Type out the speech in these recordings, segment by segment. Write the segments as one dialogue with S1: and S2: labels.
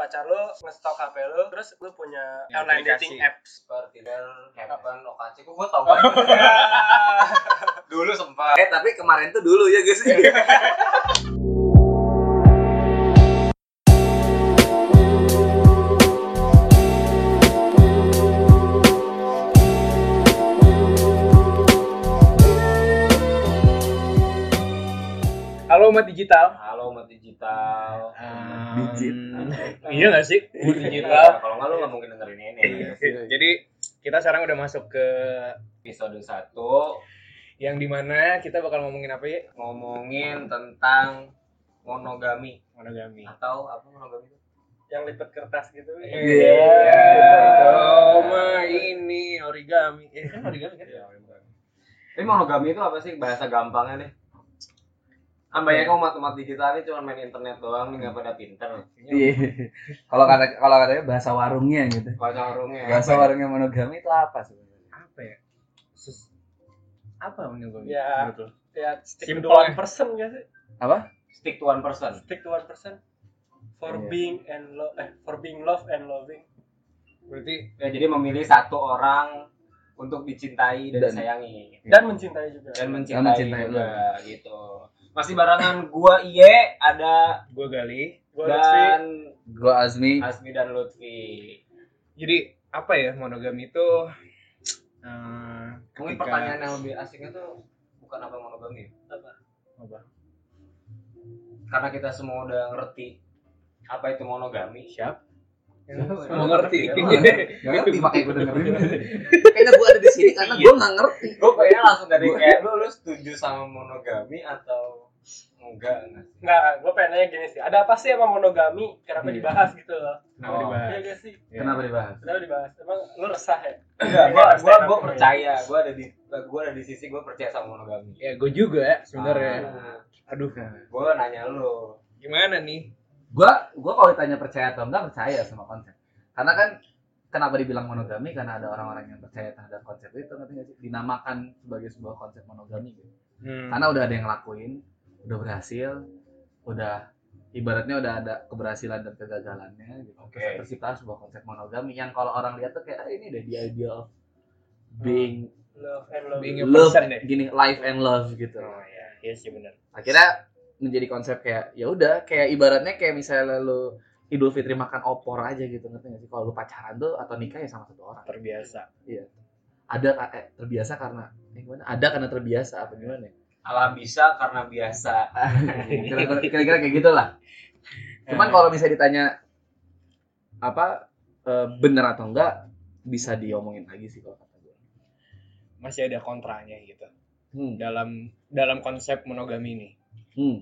S1: pacar lo ngestok HP lo terus lo punya
S2: Ya,
S1: online
S2: aplikasi.
S1: dating apps
S3: Bar Tinder kapan lokasi kok gue tau dulu sempat
S4: Eh tapi kemarin tuh dulu ya guys.
S5: Halo umat digital.
S3: halo umat digital
S5: Ah.
S3: Hmm,
S4: Digital.
S5: Iya nggak sih?
S3: digital kalau nggak lu nggak mungkin dengerin ini
S5: Jadi kita sekarang udah masuk ke
S3: episode 1
S5: yang dimana kita bakal ngomongin apa ya?
S3: ngomongin tentang monogami
S5: Monogami.
S3: atau apa monogami itu
S1: yang lipat kertas gitu
S5: Oh mah ini origami. Eh kan origami kan?
S3: tapi monogami itu apa sih bahasa gampangnya nih kan banyak
S5: ya?
S3: umat-umat digital ini cuma main internet doang nih nggak pada pinter
S4: Iya. Kalau kata kalau katanya bahasa warungnya gitu.
S3: bahasa warungnya
S4: Bahasa warungnya monogami itu apa sebenarnya?
S5: Apa ya? Sus- apa monogami?
S1: Ya.
S5: Menurut lo?
S1: ya stick to
S5: Simple
S1: one
S5: ya.
S1: person gak sih
S4: Apa?
S3: stick to one person
S1: stick to one person for
S4: Iya.
S1: being and love eh for being love and loving
S5: Berarti
S3: ya jadi memilih satu orang untuk dicintai dan
S4: Dan-
S3: disayangi
S5: Iya.
S1: dan mencintai juga
S3: dan mencintai,
S4: Dan mencintai
S3: juga gitu masih barengan gua Iye ada
S5: gue gali.
S1: Gua Lutfi.
S3: dan
S4: Gua Azmi.
S3: Asmi dan Lutfi
S5: Jadi apa ya monogami itu? eh,
S3: mungkin
S5: ketika-
S3: pertanyaan yang lebih asiknya tuh bukan apa monogami ya?
S1: Apa?
S5: Apa?
S3: karena kita semua udah ngerti apa itu monogami
S5: Siap.
S3: Semua
S5: Mau ngerti.
S3: ya,
S4: Gak ngerti makanya gue dengerin. Kayaknya gue ada di sini karena gue gak ngerti.
S3: gue kayaknya langsung dari
S4: Gua-
S3: kayak lu, lu setuju sama monogami atau enggak enggak sih?
S1: Nggak, gue pengen nanya gini sih. Ada apa sih emang monogami? Kenapa
S5: Iya.
S1: dibahas gitu loh?
S5: Kenapa
S3: Oh.
S5: dibahas?
S1: Iya gak sih?
S5: Ya.
S4: dibahas?
S1: Kenapa dibahas? Emang lu resah ya?
S3: enggak gua
S1: Enggak,
S3: gua
S1: stand
S3: gua
S1: up ya.
S3: percaya gua ada di gua ada di sisi gua percaya sama monogami
S5: Ya gue juga sebenarnya.
S3: Ah,
S5: ya. Aduh,
S3: gua nanya lu
S5: gimana nih?
S4: Gue gue kalau ditanya percaya atau enggak percaya sama konsep. Karena kan kenapa dibilang monogami karena ada orang-orang yang percaya terhadap konsep itu ngerti nggak sih? Dinamakan sebagai sebuah konsep monogami gitu.
S5: Hmm.
S4: karena udah ada yang ngelakuin udah berhasil udah ibaratnya udah ada keberhasilan dan kegagalannya gitu
S3: Oke.
S4: Terus tercipta sebuah konsep monogami yang kalau orang lihat tuh kayak "Ah, ini deh the idea of being
S1: Love and love.
S5: Hmm. Being- Hmm.
S4: love
S5: Person deh.
S4: gini life and love gitu
S5: Oh ya, iya sih benar.
S4: akhirnya menjadi konsep kayak ya udah kayak ibaratnya kayak misalnya lu Idul Fitri makan opor aja gitu ngerti gak sih kalau lu pacaran tuh atau nikah ya sama satu orang
S5: Terbiasa.
S4: ada ka- eh, terbiasa karena eh, gimana ada karena terbiasa apa gimana ya?
S3: ala bisa karena biasa
S4: Kira-kira- kira-kira kayak gitu lah Cuman
S5: Eh,
S4: kalau misalnya ditanya apa eh, bener atau enggak bisa diomongin lagi sih kalau kata gue.
S5: masih ada kontranya gitu
S4: Hmm.
S5: dalam dalam konsep monogami ini.
S4: hmm.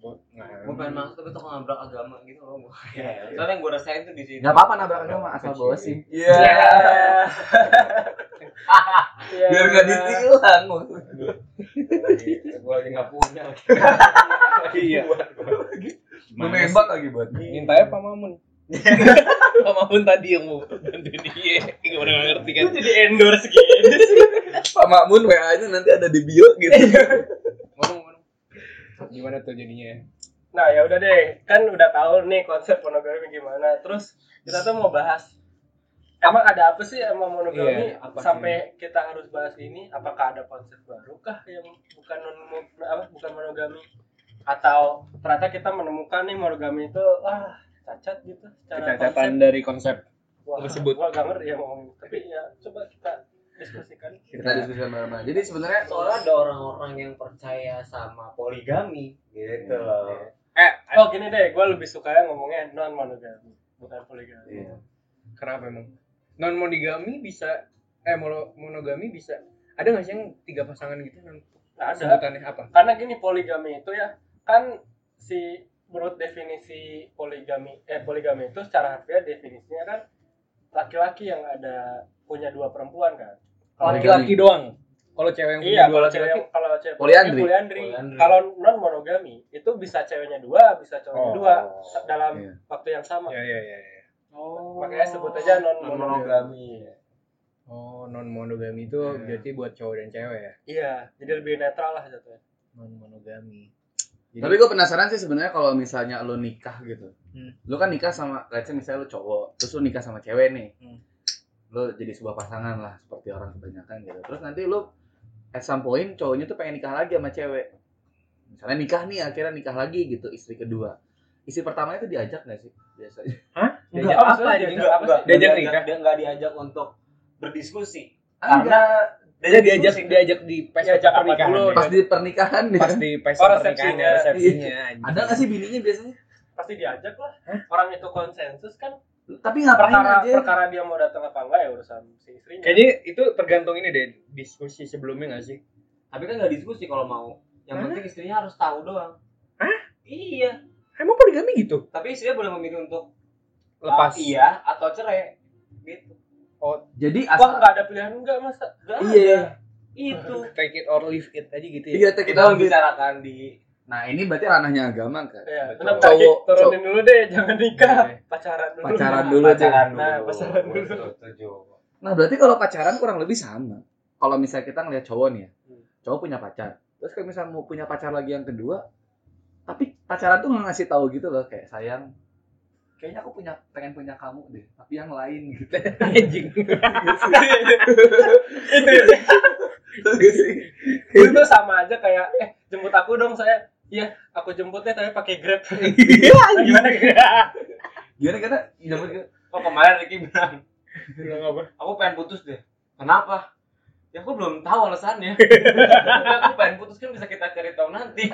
S5: Gua- Nah,
S3: gue pengen masuk tapi tuh nabrak agama gitu loh gue
S5: Iya.
S3: soalnya yang gue rasain tuh di sini
S4: Gak apa-apa nabrak agama asal bawa SIM.
S3: Iya.
S1: Iya.
S4: ditilang.
S3: gue lagi nggak punya
S5: Iya. Mas,
S4: lagi buat.
S5: minta ya Pak Mamun. Pak Mamun tadi yang mau bantuin dia. Gue udah nggak ngerti kan.
S1: Lu jadi endorse gini.
S4: Pak Makmun WA-nya nanti ada di bio gitu.
S5: Ngomong, ngomong. Gimana tuh jadinya?
S1: Nah ya udah deh, kan udah tahu nih konsep monogami gimana. Terus kita tuh mau bahas emang ada apa sih emang monogami
S5: Iya, apa sih?
S1: sampai kita harus bahas ini? Apakah ada konsep baru kah yang bukan non apa bukan monogami? Atau ternyata kita menemukan nih monogami itu wah cacat gitu secara
S5: Kecacatan dari konsep.
S1: Wah,
S5: tersebut.
S1: Gua gak ngerti ya ngomong. Tapi ya coba kita diskusikan.
S5: Eh,
S4: Kita diskusi bareng-bareng. Jadi sebenarnya
S3: soalnya ada orang-orang yang percaya sama poligami gitu loh
S5: Eh,
S1: Oh gini deh, gue lebih suka ngomongnya non monogami, bukan poligami.
S4: Iya.
S5: Kenapa emang? Non monogami bisa eh mono- monogami bisa. Ada nggak sih yang tiga pasangan gitu non
S1: Nah, ada
S5: sebutannya apa?
S1: karena gini poligami itu ya kan si menurut definisi poligami eh poligami itu secara harfiah definisinya kan laki-laki yang ada punya dua perempuan kan
S5: Kalau
S4: Monogami.
S5: laki-laki doang. Kalau cewek yang
S1: iya
S5: punya dua
S1: kalau cewek
S5: laki-laki.
S1: kalau cewek
S4: Poliandri.
S1: poliandri.
S3: Poliandri.
S1: kalau non monogami itu bisa ceweknya dua bisa cowoknya
S5: Oh.
S1: dua sa- dalam
S4: Iya.
S1: waktu yang sama
S5: Ya ya ya. ya.
S3: oh
S1: makanya sebut aja non monogami
S3: monogami
S5: Oh, non monogami itu berarti buat cowok dan cewek ya.
S1: iya jadi lebih netral lah jatuhnya
S5: Non monogami.
S3: Jadi-
S4: Tapi gue penasaran sih sebenarnya kalau misalnya lo nikah gitu.
S5: Hmm.
S4: Lo kan nikah sama, let's say misalnya lo cowok, terus lo nikah sama cewek nih.
S5: Hmm.
S4: Lo jadi sebuah pasangan lah, seperti orang kebanyakan gitu. Terus nanti lo at some point cowoknya tuh pengen nikah lagi sama cewek. Misalnya nikah nih, akhirnya nikah lagi gitu, istri kedua. Istri pertamanya tuh diajak gak sih? Biasanya.
S5: Diajak
S1: Enggak,
S5: apa?
S1: maksudnya
S5: Jadi
S1: diajak
S5: enggak
S1: apa
S5: enggak. Diajak nikah.
S3: diajak dia nggak diajak untuk berdiskusi
S4: Enggak.
S3: karena kan.
S5: Dia diajak diajak di pesta
S1: Diajak apa
S5: pernikahan.
S1: dulu?
S4: Pas di pernikahan ya. nih.
S5: Pas di pesta
S1: Oh,
S5: pernikahan
S1: resepsinya.
S5: resepsinya. anjing.
S4: Ada gak sih bininya biasanya?
S1: Pasti diajak lah. Orang itu konsensus kan
S4: Tapi ngapain
S1: perkara
S4: aja?
S1: perkara dia mau datang apa enggak ya urusan si istrinya.
S5: Kayaknya itu tergantung ini deh diskusi sebelumnya gak sih?
S3: tapi kan nggak diskusi kalau mau yang
S5: Hah?
S3: penting istrinya harus tahu doang iya
S5: Emang poligami gitu?
S3: tapi istrinya boleh memilih untuk ah,
S5: Lepas.
S3: iya atau cerai gitu
S4: Jadi
S1: Wah,
S4: asal
S1: enggak ada pilihan enggak, Mas.
S3: Nggak
S4: Iya.
S3: ada. itu
S5: Take it or leave it aja gitu ya.
S4: Iya, teh,
S3: kita
S4: kita gitu.
S3: membicarakan di
S4: Nah, ini berarti ranahnya agama kan?
S1: Iya,
S3: Betul.
S1: tetap kaki
S4: Cowok-
S1: turunin dulu deh, jangan nikah.
S4: Iya.
S1: Pacaran dulu.
S4: Pacaran
S3: Nah,
S4: dulu,
S3: pacaran
S1: Cik.
S3: dulu
S1: Nah, pacaran dulu.
S3: Betul, setuju.
S4: Nah, berarti kalau pacaran kurang lebih sama. Kalau misalnya kita ngelihat cowok nih ya,
S1: Hmm.
S4: cowok punya pacar. Terus kalau misalnya mau punya pacar lagi yang kedua, tapi pacaran tuh nggak ngasih tahu gitu loh, kayak sayang. Kayaknya aku punya pengen punya kamu deh, tapi yang lain gitu.
S5: Anjing.
S1: itu sama aja kayak eh jemput aku dong saya iya aku jemputnya tapi pakai grab gimana
S4: Gimana Iya, kata? Gimana kata?
S3: oh kemarin Ricky bilang
S5: Bilang apa?
S3: aku pengen putus deh kenapa ya aku belum tahu alasannya aku pengen putus kan bisa kita cari tahu nanti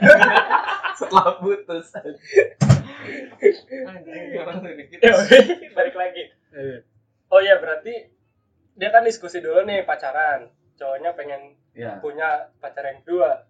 S3: setelah putus Anjing, orang tuh dikit.
S1: Ya, oke, balik lagi oh iya berarti dia kan diskusi dulu nih pacaran cowoknya pengen
S4: Ya.
S1: punya pacar yang kedua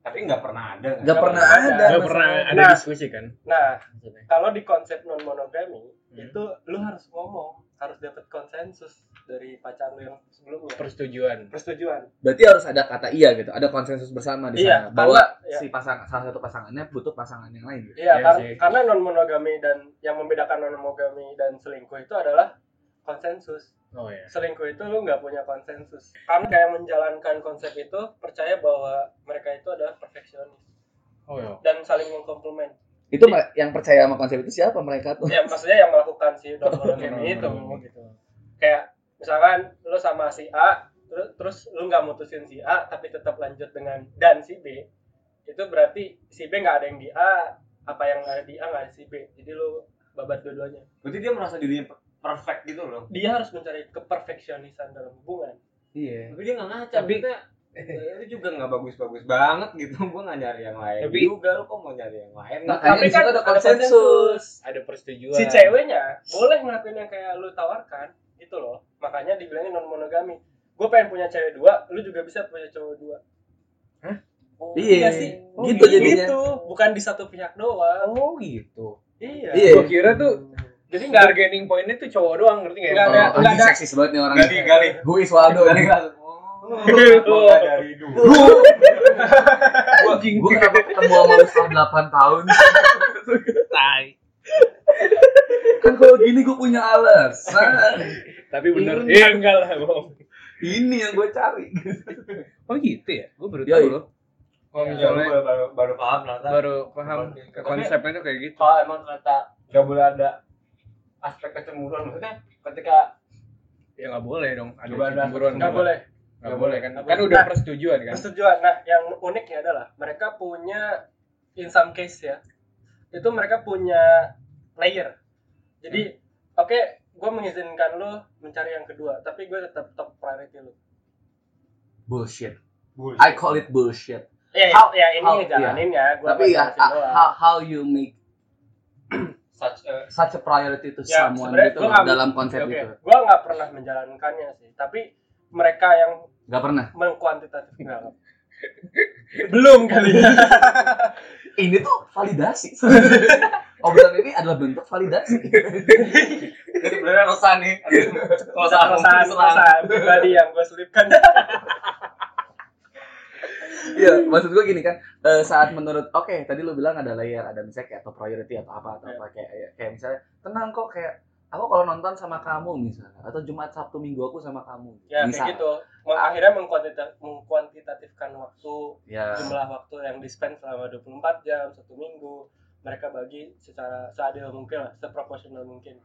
S3: tapi nggak pernah ada
S4: Gak
S1: pernah
S4: pernah ada.
S1: ada.
S5: Gak
S4: masalah.
S5: pernah ada
S1: Nah.
S5: diskusi kan?
S1: nah
S5: Maksudnya.
S1: kalau di konsep non monogami
S5: Hmm.
S1: itu lu harus ngomong harus dapat konsensus dari pacar lu yang sebelumnya
S5: Persetujuan.
S1: persetujuan
S4: Berarti harus ada kata iya gitu, ada konsensus bersama di
S1: Iya,
S4: sana bahwa
S1: karena- iya.
S4: si pasang salah satu pasangannya butuh pasangan yang lain. gitu.
S1: Iya,
S5: Iya
S1: kar-
S5: sih.
S1: karena non monogami dan yang membedakan non monogami dan selingkuh itu adalah konsensus.
S5: Oh ya.
S1: Selingkuh itu lu nggak punya konsensus. Karena kayak menjalankan konsep itu percaya bahwa mereka itu adalah perfeksionis
S5: Oh ya.
S1: dan saling mengkomplement.
S4: Itu mer- yang percaya sama konsep itu siapa mereka tuh?
S1: Ya maksudnya yang melakukan si non monogami itu gitu. Kayak misalkan lu sama si A, lu- terus lu nggak mutusin si A tapi tetap lanjut dengan dan si B. Itu berarti si B nggak ada yang di A, apa yang ada di A nggak ada si B. Jadi lu babat dua-duanya.
S3: berarti dia merasa dirinya per- perfect gitu loh
S1: dia harus mencari keperfeksionisan dalam hubungan.
S4: Iya.
S3: tapi dia nggak ngaca
S5: Tapi-
S3: maksudnya, eh, lu juga nggak bagus-bagus banget gitu gua nggak nyari yang lain
S5: Tapi-
S3: juga lu kok mau nyari yang lain
S4: Makanya
S1: Tapi
S4: di situ
S1: kan
S4: ada
S1: ada
S4: konsensus. Iya.
S5: Ada persetujuan.
S1: Si ceweknya boleh ngelakuin yang kayak lu tawarkan gitu loh. Makanya dibilangin non monogami. Gue pengen punya cewek dua, lu juga bisa punya cowok dua.
S5: Hah?
S1: Oh,
S4: Iya.
S1: iya sih.
S4: Oh, Gitu jadinya.
S1: Gitu, bukan di satu pihak doang.
S5: Oh gitu.
S1: Iya.
S4: Iya.
S5: Gue kira tuh
S1: Jadi nggak
S5: bargaining pointnya tuh cowok doang ngerti nggak?
S1: Nggak
S5: ya?
S1: ada-
S4: Oh,
S1: nggak
S4: anjing
S1: ada.
S4: seksis banget nih orang.
S3: gali gali
S4: Who is Waldo
S3: gali
S4: ini?
S3: langsung oh, gua nggak dari dulu
S4: Gua, gua kenapa ketemu sama lu setelah 8 tahun?
S5: Tai.
S4: Kan kalau gini gua punya alasan.
S5: Tapi bener.
S4: Iya.
S5: Iya enggak lah bohong.
S4: Ini yang gua cari.
S5: Oh gitu ya? Gue baru
S4: Yoi.
S5: tahu loh.
S3: Ya,
S5: Kalau
S3: lu
S5: misalnya
S3: baru, baru, baru paham ternyata
S5: baru paham
S3: Tapi-
S5: konsepnya tuh kayak gitu.
S3: kalau emang ternyata nggak boleh ada aspek kecemburuan maksudnya ketika
S5: Ya nggak boleh dong. Ada
S3: Coba ada
S5: cemburuan.
S4: Iya.
S1: nggak boleh.
S5: Nggak boleh kan?
S1: Nggak
S5: Kan
S1: boleh.
S5: udah
S1: Nah.
S5: persetujuan kan?
S1: Persetujuan. Nah, yang uniknya adalah mereka punya in some case ya. Itu mereka punya layer. Jadi,
S4: Hmm.
S1: oke, gue mengizinkan lo mencari yang kedua, tapi gue tetap top priority lo.
S4: Bullshit.
S3: bullshit.
S4: I call it bullshit.
S1: Ya,
S4: How-
S1: ya ini
S4: how-
S1: jalanin ya. Gua
S4: Tapi ya,
S1: jelasin doang.
S4: how, how you make
S3: such a
S4: such a priority to
S1: Ya,
S4: someone
S1: sebenarnya
S4: gitu
S1: gua
S4: loh,
S1: nggak-
S4: dalam konsep
S1: Oke,
S4: itu.
S1: Gua nggak pernah menjalankannya sih, tapi mereka yang
S4: Gak pernah.
S1: mengkuantitatif nggak. belum kali ya.
S4: Ini tuh validasi. sebenarnya. Obrolan ini adalah bentuk validasi.
S3: ini sebenarnya rosan nih kalau salah
S1: Perasaan perasaan pribadi yang gue selipkan.
S4: Iya, maksud gue gini kan, eh, saat menurut, oke tadi lu bilang ada layer, ada misalnya kayak top priority atau apa atau apa kayak kayak misalnya ya, tenang kok kayak aku kalau nonton sama kamu misalnya atau Jumat Sabtu Minggu aku sama kamu
S1: ya
S4: Misal.
S1: kayak gitu Meng- akhirnya mengkuantita- mengkuantitatifkan waktu
S4: ya
S1: jumlah waktu yang di spend selama 24 jam satu minggu mereka bagi secara seadil mungkin lah seproporsional mungkin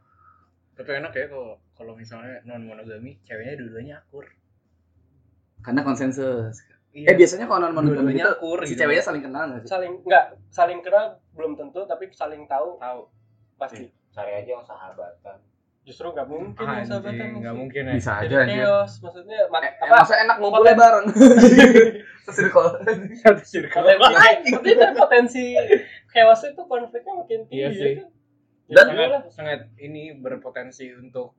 S5: Tapi enak ya kalau kalau misalnya non monogami ceweknya dua-duanya akur.
S4: karena konsensus eh
S5: Iya.
S4: biasanya kalau non monogam gitu
S5: dua-duanya akur
S4: si
S5: gitu.
S4: ceweknya saling kenal nggak sih
S1: saling nggak saling kenal belum tentu tapi saling tahu
S5: tahu. Iya.
S1: pasti
S3: cari aja yang sahabatan
S1: justru nggak mungkin yang sahabatan
S5: Anjing, nggak
S1: sih.
S5: mungkin ya.
S4: bisa
S1: Jadi
S4: aja anjir
S1: chaos maksudnya mak-
S4: Eh, eh,
S1: apa
S4: masa enak ngumpulnya bareng sesirkol
S5: Satu circle.
S1: potensi tapi kan potensi chaos itu konfliknya makin tinggi
S5: Iya sih.
S1: kan?
S4: Dan-
S1: Ya, iyalah.
S5: sangat sangat ini berpotensi untuk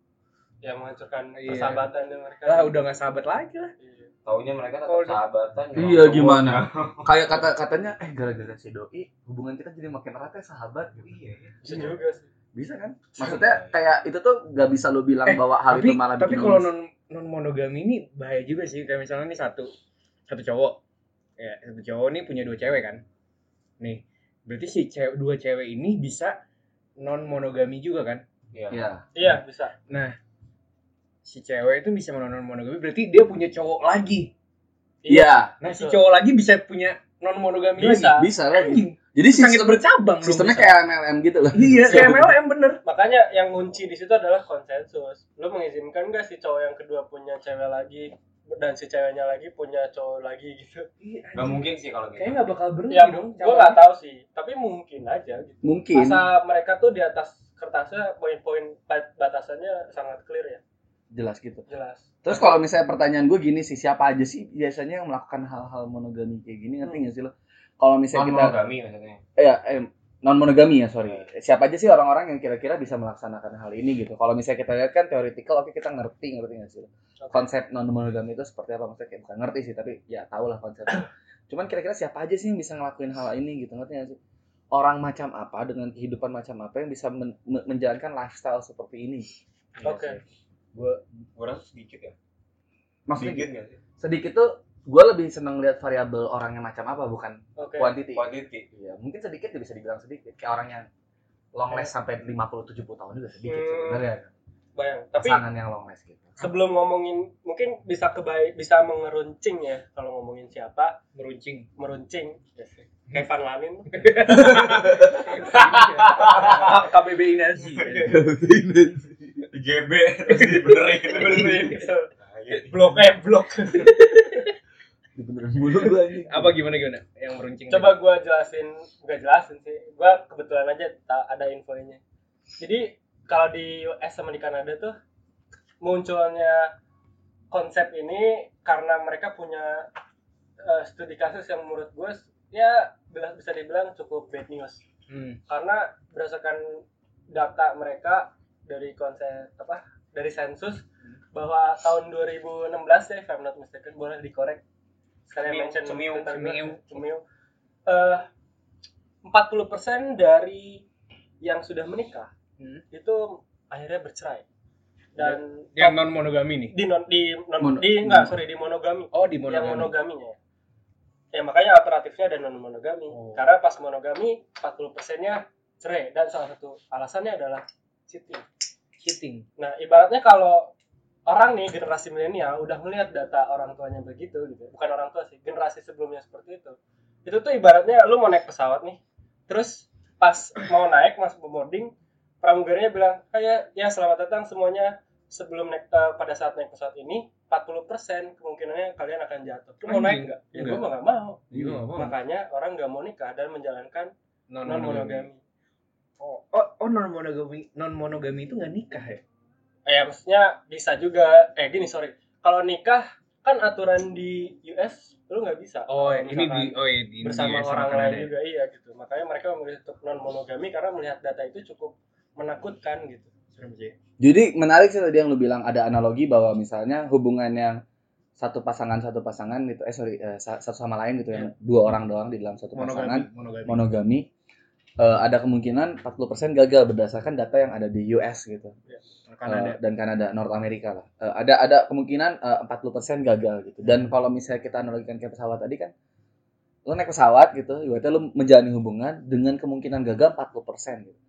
S1: ya menghancurkan
S5: Iya.
S1: persahabatan di mereka
S5: ah udah nggak sahabat lagi lah.
S1: Iya.
S3: taunya mereka tetap
S5: Kalau di-
S3: sahabatan
S4: Iya,
S3: orang
S4: gimana?
S3: tuanya.
S4: kayak kata katanya eh gara-gara si doi hubungan kita jadi makin erat ya sahabat gitu.
S1: bisa juga sih
S4: bisa kan maksudnya kayak itu tuh nggak bisa lo bilang
S5: Eh,
S4: bahwa hal
S5: tapi
S4: itu malah
S5: tapi
S4: bikin
S5: kalau
S4: lo-
S5: non non monogami ini bahaya juga sih kayak misalnya nih satu satu cowok ya satu cowok nih punya dua cewek kan nih berarti si cewek dua cewek ini bisa non monogami juga kan Nah,
S3: iya
S4: Iya.
S1: iya bisa
S5: si cewek itu bisa non monogami berarti dia punya cowok lagi
S4: Iya,
S5: nah si
S1: Betul.
S5: cowok lagi bisa punya non monogami
S1: Bisa.
S5: lagi
S4: bisa lagi.
S5: Anjing,
S4: Jadi
S5: sangat
S4: sistem,
S5: bercabang dong
S4: sistemnya
S5: bisa.
S4: kayak MLM gitu loh.
S5: iya kayak MLM bener
S1: makanya yang kunci di situ adalah konsensus lu mengizinkan gak si cowok yang kedua punya cewek lagi dan si ceweknya lagi punya cowok lagi gitu
S5: Iya,
S3: nggak
S5: anjing.
S3: mungkin sih kalau gitu
S5: kayaknya nggak bakal berhenti
S1: ya
S5: dong
S1: gue nggak tahu sih tapi mungkin aja gitu
S4: Mungkin.
S1: masa mereka tuh di atas kertasnya poin-poin bat- batasannya sangat clear ya
S4: Jelas gitu.
S1: jelas
S4: Terus kalau misalnya pertanyaan gue gini sih, siapa aja sih biasanya yang melakukan hal-hal monogami kayak gini?
S5: Hmm.
S4: Ngerti nggak sih lo? Kalau misalnya
S3: non
S4: kita
S3: monogami maksudnya
S4: ya non monogami ya sorry
S5: Iya.
S4: siapa aja sih orang-orang yang kira-kira bisa melaksanakan hal ini gitu kalau misalnya kita lihat kan teoretikal oke kita ngerti ngerti nggak sih konsep non monogami itu seperti apa maksudnya kayak bukan ngerti sih tapi ya tau lah konsepnya cuman kira-kira siapa aja sih yang bisa ngelakuin hal ini gitu ngerti nggak sih orang macam apa dengan kehidupan macam apa yang bisa men- men- menjalankan lifestyle seperti ini
S1: oke
S3: gue gue rasa sedikit ya sedikit
S4: maksudnya
S3: nggak sih
S4: sedikit tuh gue lebih seneng lihat variabel orangnya macam apa bukan
S1: oke
S4: quantity
S3: quantity
S4: Iya, mungkin sedikit ya bisa dibilang sedikit. Kayak orang yang long last sampai 50 70 tahun juga sedikit
S1: Hmm.
S4: sebenarnya.
S1: bayang tapi
S4: Pasangan yang long last gitu.
S1: sebelum ngomongin mungkin bisa kebaik bisa mengeruncing ya kalau ngomongin siapa
S5: meruncing
S1: meruncing Kevin Lanin
S5: KBBI Nazi
S3: GB terus dibenerin
S1: Benerin. blok eh blok
S4: Beneran mulu gua ini.
S5: apa gimana gimana yang meruncing gitu.
S1: coba gua jelasin gak jelasin sih gua kebetulan aja ta- ada infonya jadi kalau di US sama di Kanada tuh munculnya konsep ini karena mereka punya eh, studi kasus yang menurut gue ya bila- bisa dibilang cukup bad news
S5: hmm.
S1: karena berdasarkan data mereka dari konsen apa dari sensus bahwa tahun 2016 ya if I'm not mistaken boleh dikorek
S3: Cemiu,
S1: sekalian mention
S3: cemiu,
S1: tentang
S5: cemiu.
S1: gua, cemiu. Eh, 40% dari yang sudah menikah
S5: Hmm.
S1: itu akhirnya bercerai dan
S5: yang non monogami nih
S1: di non di non
S4: Mono-
S1: di enggak sorry di monogami
S5: oh di
S1: yang
S5: monogami
S1: monogaminya ya makanya alternatifnya ada non monogami
S5: Oh.
S1: karena pas monogami 40 persennya cerai dan salah satu alasannya adalah cheating
S5: cheating
S1: nah ibaratnya kalau orang nih generasi milenial udah melihat data orang tuanya begitu gitu bukan orang tua sih generasi sebelumnya seperti itu itu tuh ibaratnya lu mau naik pesawat nih terus pas mau naik mas boarding pramugarinya bilang kayak ya selamat datang semuanya sebelum naik eh, pada saat naik pesawat ini 40% kemungkinannya kalian akan jatuh. Lu mau
S5: Anjing.
S1: naik nggak? Ya gue
S5: Nggak.
S1: mau nggak mau.
S5: Iya, Bang.
S1: Makanya orang nggak mau nikah dan menjalankan
S5: non
S1: non monogami.
S5: oh oh, oh non monogami non monogami itu nggak nikah ya
S1: Eh, ya, maksudnya bisa juga. Eh gini sorry, kalau nikah kan aturan di US lu nggak bisa.
S5: oh
S1: Kalau
S5: ini di
S1: misalkan
S5: oh iya, di ini
S1: bersama
S5: ya, sama
S1: orang
S5: Kanada
S1: lain
S5: ya.
S1: juga iya gitu. Makanya mereka memilih untuk non monogami karena melihat data itu cukup menakutkan gitu.
S5: serem sih
S4: Jadi menarik sih tadi yang lu bilang ada analogi bahwa misalnya hubungan yang satu pasangan satu pasangan gitu eh sorry eh, sa- satu sama lain gitu yang dua orang doang di dalam satu pasangan
S5: Iya. monogami monogami
S4: monogami eh, ada kemungkinan 40% gagal berdasarkan data yang ada di US gitu. Eh,
S5: Kanada
S4: dan Kanada, North America lah. Eh, ada ada kemungkinan eh, 40% gagal gitu.
S5: Iya.
S4: Dan kalau misalnya kita analogikan ke pesawat tadi kan lo naik pesawat gitu, ibaratnya lo menjalani hubungan dengan kemungkinan gagal 40% gitu.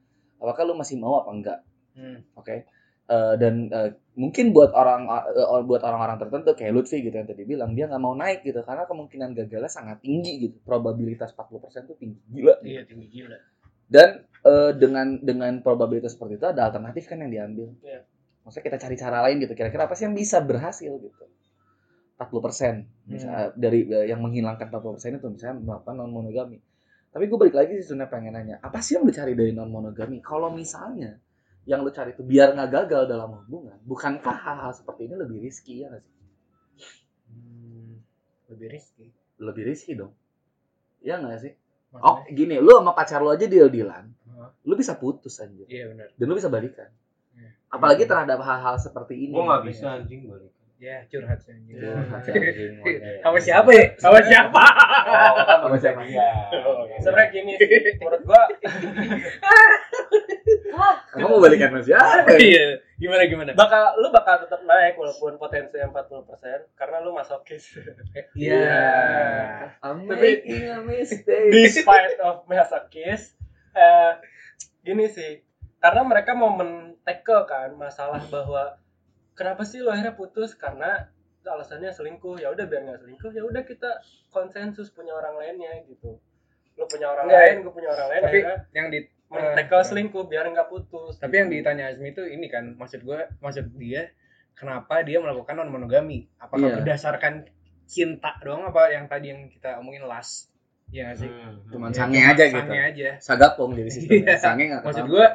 S4: Apakah lo masih mau apa enggak?
S5: Hmm.
S4: oke Eh, dan eh, mungkin buat orang eh, buat orang-orang tertentu kayak Lutfi gitu yang tadi bilang dia nggak mau naik gitu karena kemungkinan gagalnya sangat tinggi gitu probabilitas 40% itu tinggi gila gitu.
S5: Iya tinggi gila.
S4: dan eh, dengan dengan probabilitas seperti itu ada alternatif kan yang diambil
S1: Iya.
S4: maksudnya kita cari cara lain gitu kira-kira apa sih yang bisa berhasil gitu 40% misalnya
S5: Hmm.
S4: dari eh, yang menghilangkan 40% itu misalnya melakukan non monogami tapi gue balik lagi sih sebenarnya pengen nanya apa sih yang lu cari dari non monogami kalau misalnya yang lu cari itu biar nggak gagal dalam hubungan bukankah hal-hal seperti ini lebih riski ya nggak sih
S5: Hmm. Lebih risky.
S4: lebih riski dong ya nggak sih oh
S5: Maksudnya?
S4: gini lu sama pacar lu aja deal dealan
S5: Hah?
S4: lu bisa putus anjir
S5: Iya benar.
S4: dan lu bisa balikan.
S5: Iya.
S4: Apalagi terhadap hal-hal seperti ini.
S3: Gua nggak bisa anjing balik.
S5: Ya curhat sih. anjing.
S1: Iya.
S5: Sama siapa ya? Sama siapa?
S3: Oh, iya.
S4: Sama
S3: bisa
S4: siapa?
S3: dia.
S1: Sebenarnya gini sih, menurut gua
S4: Kamu mau balikan sama siapa?
S5: Iya. Gimana gimana?
S1: bakal lu bakal tetap naik walaupun potensi 40% karena lu masokis.
S4: Iya. I'm
S1: Tapi-
S4: making a mistake.
S1: Despite of masokis, eh gini sih, karena mereka mau men-tackle kan masalah bahwa kenapa sih lo akhirnya putus karena alasannya selingkuh ya udah biar nggak selingkuh ya udah kita konsensus punya orang lainnya gitu lu punya orang
S5: Nggak,
S1: lain gue punya orang lain
S5: Iya. Tapi
S1: akhirnya
S5: yang di
S1: men-tackle
S5: eh,
S1: selingkuh biar nggak putus
S5: Tapi yang ditanya Azmi itu ini kan maksud gue maksud dia kenapa dia melakukan non monogami? Apakah
S4: Iya.
S5: berdasarkan cinta doang apa yang tadi yang kita omongin las? Iya nggak sih?
S3: Hmm.
S4: Cuman
S5: Ya,
S4: sange
S5: cuma
S4: aja gitu.
S5: Sange aja.
S4: Sagapung jadi sistemnya.
S5: Iya.
S4: Sange nggak
S5: Maksud
S4: ketahuan.
S5: gue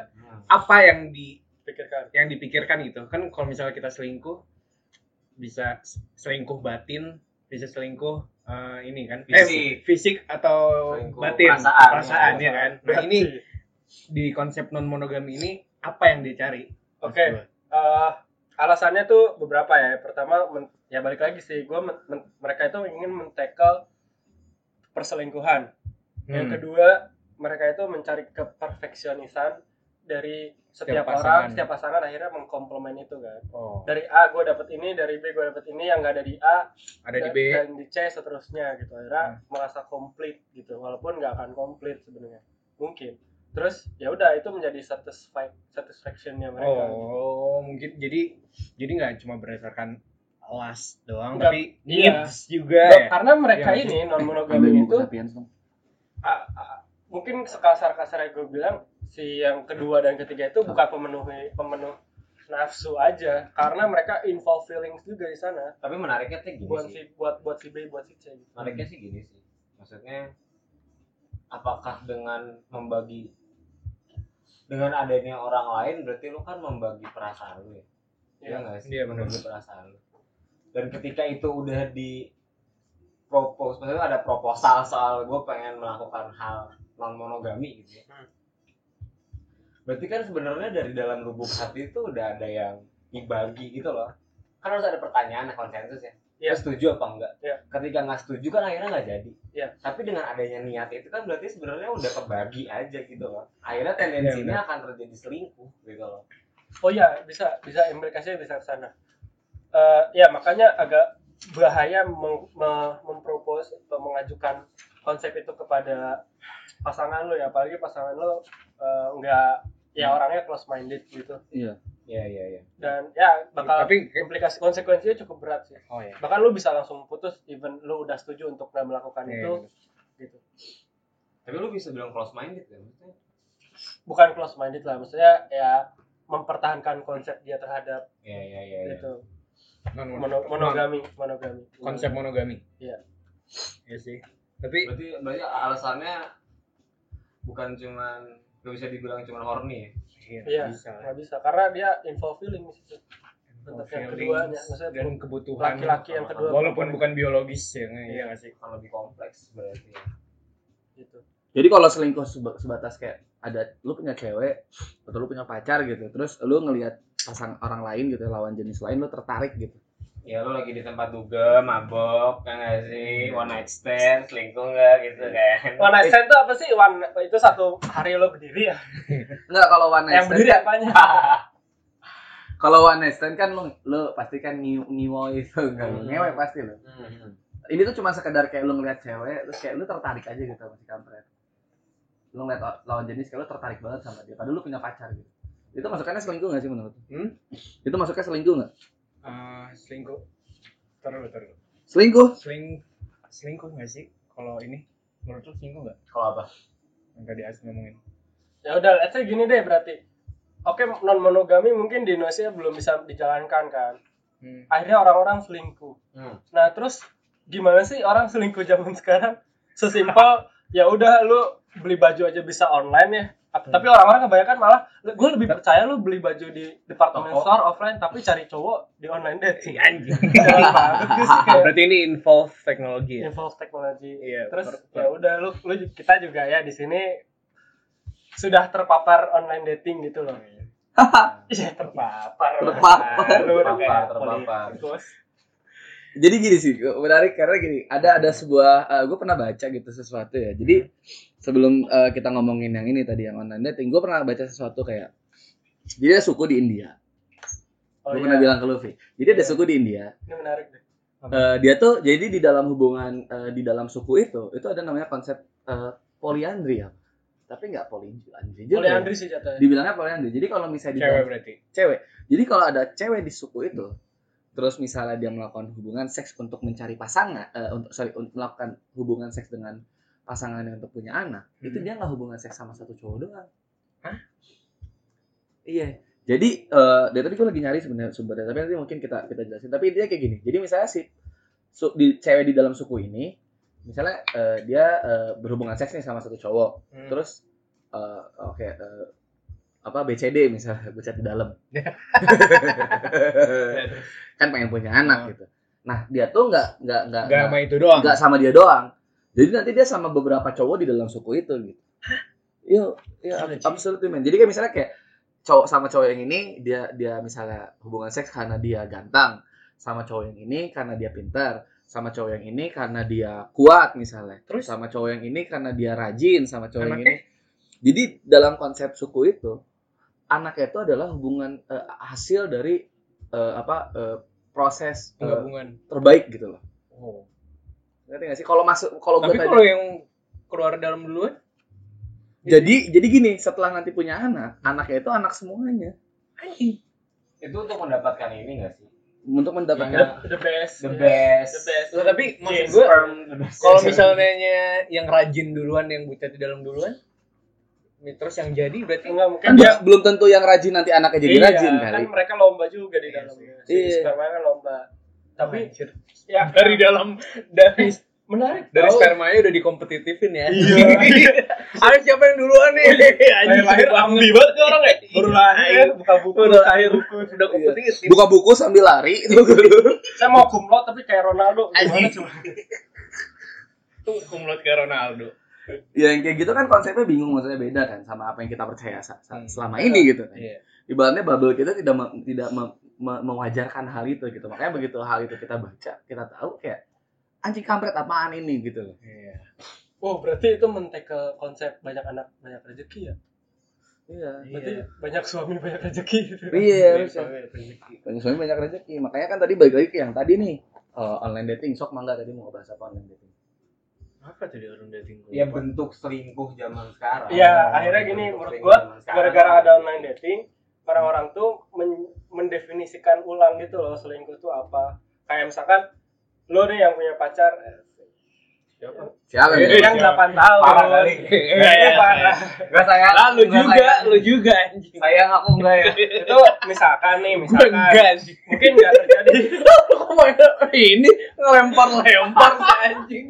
S5: apa yang di
S1: pikirkan
S5: yang dipikirkan gitu kan kalau misalnya kita selingkuh bisa selingkuh batin bisa selingkuh eh, ini kan Eh,
S3: Fisik.
S5: fisik atau
S3: Selingkuh
S5: batin
S3: perasaan.
S5: perasaan ya kan nah ini
S1: Berarti.
S5: di konsep non monogami ini apa yang dicari
S1: oke
S5: Maksud gua.
S1: eh alasannya tuh beberapa ya. Pertama, men- ya balik lagi sih, gue mereka itu ingin men-tackle perselingkuhan. Yang
S5: Hmm.
S1: kedua, mereka itu mencari keperfeksionisan dari setiap,
S5: Setiap
S1: orang,
S5: pasangan.
S1: setiap pasangan akhirnya mengkomplement itu kan.
S5: oh,
S1: Dari A gue dapet ini, dari B gue dapet ini, yang gak ada di A
S5: ada di
S1: dan,
S5: B Hmm.
S1: dan di C seterusnya gitu. Akhirnya merasa komplit gitu, walaupun nggak akan komplit sebenarnya. Mungkin. Terus ya udah itu menjadi satisfi- satisfactionnya mereka.
S5: oh mungkin jadi jadi nggak cuma berdasarkan las doang
S1: Nggak,
S5: tapi
S1: iya.
S5: needs juga
S1: Nah,
S5: ya
S1: karena mereka
S5: Iya.
S1: ini non
S4: Ambil
S1: monogami
S4: buku
S1: itu
S4: Sapiens dong.
S1: a- a- mungkin sekasar kasarnya gue bilang si yang kedua dan ketiga itu bukan pemenuhi pemenuh nafsu aja karena mereka involve feelings juga di sana
S3: Tapi menariknya tuh gini
S1: buat
S3: Iya sih.
S1: si buat buat si B buat si C gitu.
S3: Menariknya sih gini sih. Maksudnya apakah dengan membagi dengan adanya orang lain berarti lu kan membagi perasaan lu ya. Iya
S1: ya.
S3: nggak sih?
S5: Iya, benar.
S3: Membagi perasaan lu. Dan ketika itu udah di propose, maksudnya ada proposal soal gue pengen melakukan hal non monogami gitu ya.
S1: Hmm.
S3: Berarti kan sebenarnya dari dalam lubuk hati itu udah ada yang dibagi gitu loh. Kan harus ada pertanyaan nah, konsensus ya.
S1: Iya.
S3: Lu setuju apa enggak?
S1: Iya.
S3: Ketika nggak setuju kan akhirnya nggak jadi.
S1: Iya.
S3: Tapi dengan adanya niat itu kan berarti sebenarnya udah kebagi aja gitu loh. Akhirnya tendensinya akan terjadi selingkuh gitu loh.
S1: oh ya bisa bisa implikasinya bisa ke sana Eh, ya makanya agak bahaya meng- me- mempropos atau mengajukan konsep itu kepada pasangan lo ya apalagi pasangan lo eh, nggak ya orangnya close minded gitu
S3: Iya iya iya.
S1: dan ya bakal
S5: tapi
S1: implikasi konsekuensinya cukup berat sih
S5: oh ya
S1: bahkan lu bisa langsung putus even lu udah setuju untuk nggak melakukan
S5: Iya,
S1: itu
S5: bener.
S1: gitu
S3: Tapi lu bisa bilang close minded kan?
S1: bukan close minded lah maksudnya ya mempertahankan konsep dia terhadap
S3: Iya iya iya. iya.
S1: itu
S5: non
S1: mono- monogami monogami
S5: Iya. konsep monogami.
S1: Iya.
S5: Iya sih. Tapi
S3: Berarti berarti alasannya bukan cuman gak bisa dibilang cuman horny ya.
S1: iya
S5: bisa. ya.
S1: nggak bisa karena dia info feeling di situ. Untuk yang keduanya, maksudnya
S5: dan
S1: belum
S5: kebutuhan
S1: laki-laki yang kedua
S5: walaupun bukan biologis ya nggak- iya nggak sih.
S3: Akan lebih kompleks berarti. ya.
S1: gitu
S4: Jadi kalau selingkuh seba- sebatas kayak ada lu punya cewek atau lu punya pacar gitu, terus lu ngelihat pasang orang lain gitu lawan jenis lain lu tertarik gitu.
S3: Ya lu lagi di tempat duga, mabok, kan gak sih? One night stand, selingkuh gak gitu kan?
S1: one night stand tuh apa sih one itu satu hari lo berdiri ya
S4: Enggak kalau one night
S1: yang
S4: stand.
S1: berdiri apanya
S4: Kalau one night stand kan lu lu pasti kan ngi- ngiwo itu kan.
S3: Hmm.
S4: Ngewe pasti lu. ini tuh cuma sekedar kayak lu ngeliat cewek terus kayak lu tertarik aja gitu sama si kampret lu ngeliat o- lawan jenis kayak lu tertarik banget sama dia padahal lu punya pacar gitu Itu masukannya selingkuh nggak sih menurut? lu?
S5: Hmm?
S4: Itu masuknya selingkuh nggak?
S5: Eh, selingkuh. Taruh dulu, taruh dulu.
S4: Selingkuh?
S5: Seling selingkuh nggak sih? Kalau ini menurut lu selingkuh nggak?
S3: Kalau apa?
S5: Yang tadi As ngomongin.
S1: ya udah let's say gini deh berarti oke non monogami mungkin di Indonesia belum bisa dijalankan kan
S5: Hmm.
S1: akhirnya orang-orang selingkuh
S3: Hmm.
S1: nah terus gimana sih orang selingkuh zaman sekarang sesimpel ya udah lu beli baju aja bisa online ya Ap- tapi orang-orang kebanyakan malah gue lebih percaya lu beli baju di departemen
S3: Toko.
S1: store offline tapi cari cowok di online dating
S5: Iya, Anjing.
S1: Jalan banget gue sih kayak
S5: Berarti ini involve teknologi ya?
S1: involve teknologi
S5: Iya,
S1: terus
S5: per- per-
S1: ya udah lu, lu kita juga ya di sini sudah terpapar online dating gitu loh Iya terpapar.
S4: Terpapar.
S1: Lu udah
S3: Terpapar,
S1: kayak
S3: terpapar.
S1: politikus.
S4: Jadi gini sih, menarik karena gini, ada ada sebuah gue pernah baca gitu sesuatu ya. Jadi sebelum eh, kita ngomongin yang ini tadi yang online dating, gue pernah baca sesuatu kayak jadi ada suku di India.
S1: Oh, iya.
S4: gue pernah bilang ke Luffy. Jadi ada
S1: Iya.
S4: suku di India.
S1: Ini menarik deh.
S4: eh, dia tuh jadi di dalam hubungan eh, di dalam suku itu itu ada namanya konsep eh, poliandri ya. Tapi nggak poliandri juga.
S1: Boleh
S4: ya.
S1: Andri sih jatuhnya.
S4: Dibilangnya poliandri. Jadi kalau misalnya di
S5: Cewek berarti.
S4: cewek. Jadi kalau ada cewek di suku itu, terus misalnya dia melakukan hubungan seks untuk mencari pasangan, eh, untuk sorry un- melakukan hubungan seks dengan pasangannya untuk punya anak,
S5: Hmm.
S4: itu dia nggak hubungan seks sama satu cowok doang.
S5: Hah?
S4: Iya. Jadi eh dari tadi gue lagi nyari sebenarnya sumbernya, tapi nanti mungkin kita kita jelasin. Tapi intinya kayak gini. Jadi misalnya si su- di cewek di dalam suku ini, misalnya eh, dia eh, berhubungan seks nih sama satu cowok,
S5: Hmm.
S4: terus eh, oke eh, apa BCD misalnya bocah di dalam
S5: Ya,
S4: kan pengen punya anak
S5: Oh.
S4: gitu nah dia tuh nggak nggak nggak
S5: Gak
S4: nggak-
S5: sama itu doang.
S4: nggak sama dia doang jadi nanti dia sama beberapa cowok di dalam suku itu gitu iya iya ab- absolutely man jadi kayak misalnya kayak cowok sama cowok yang ini dia dia misalnya hubungan seks karena dia ganteng sama cowok yang ini karena dia pintar sama cowok yang ini karena dia kuat misalnya
S5: Terus?
S4: sama cowok yang ini karena dia rajin sama cowok yang
S5: Anaknya?
S4: ini jadi dalam konsep suku itu anaknya itu adalah hubungan eh, hasil dari eh, apa eh, proses eh,
S5: Penggabungan.
S4: terbaik gitu loh
S5: Oh.
S4: ngerti gak sih kalau masuk kalau gue
S5: Tapi
S4: tadi
S5: kalau yang keluar dalam duluan
S4: jadi jadi gini setelah nanti punya anak anaknya itu anak semuanya
S5: anjing.
S3: Itu untuk mendapatkan ini nggak sih?
S4: untuk
S1: The,
S4: mendapatkan
S3: Yang-
S1: the best.
S3: The
S1: Iya.
S3: best.
S1: The best.
S5: Loh, tapi maksud
S1: Yes.
S5: gue
S3: Sperm, the best.
S5: kalau misalnya yang rajin duluan yang bucat di dalam duluan terus yang jadi berarti
S1: Enggak mungkin
S4: kan nggak- belum tentu yang rajin nanti anaknya jadi
S1: Iya,
S4: rajin
S1: kan
S4: kali
S1: mereka lomba juga di dalamnya. Si
S4: Iya.
S1: sperma kan lomba. Tapi
S5: Anjir.
S1: ya
S5: dari dalam dari
S1: menarik.
S5: dari
S1: tau.
S5: spermanya udah dikompetitifin ya.
S1: Iya.
S5: Harus siapa yang duluan nih? Anjing Iya.
S1: Lahir-lahir ambi banget tuh orang ya. Baru lahir, buka buku,
S5: Udah
S1: lahir.
S5: udah kompetitif.
S4: buka buku sambil lari itu
S1: Saya mau kumlot tapi kayak Ronaldo. Gimana
S5: Anjing.
S1: cuma?
S5: Tuh kumlot ke Ronaldo.
S4: ya yang kayak gitu kan konsepnya bingung maksudnya beda kan sama apa yang kita percaya sa- sa-
S5: Hmm.
S4: selama ini gitu kan
S5: Iya.
S4: ibaratnya bubble kita tidak me- tidak me- me- mewajarkan hal itu gitu makanya begitu hal itu kita baca kita tahu kayak anjing kampret apaan ini gitu loh
S5: Iya.
S1: Oh, berarti itu men-tackle konsep banyak anak, banyak rezeki ya.
S4: iya
S1: Berarti banyak suami, banyak rezeki gitu.
S4: iya harusnya.
S5: Rezeki.
S4: banyak suami banyak rezeki makanya kan tadi balik lagi ke yang tadi nih eh, online dating sok mangga tadi mau bahas apa online dating
S5: Apa tadi orang dating gue?
S3: ya bentuk selingkuh zaman sekarang.
S1: Iya, akhirnya gini,
S3: Bentuk
S1: menurut
S3: selingkuh
S1: gua,
S3: zaman sekarang.
S1: gara-gara ada online dating orang-orang tuh men- mendefinisikan ulang gitu loh selingkuh tuh apa kayak misalkan lo nih yang punya pacar eh,
S4: siapa
S5: Eh,
S1: Iya, yang 8 tahun
S3: Parah kali.
S1: Iya, iya, parah.
S3: Enggak sayang.
S5: Lalu
S3: Nggak
S5: juga,
S3: sayang.
S5: lu juga anjing.
S3: Sayang aku enggak ya.
S1: itu misalkan nih
S5: Gue
S1: misalkan
S5: enggak anjing.
S1: mungkin nggak terjadi
S5: Kok main- ini ngelempar-lempar sih, anjing.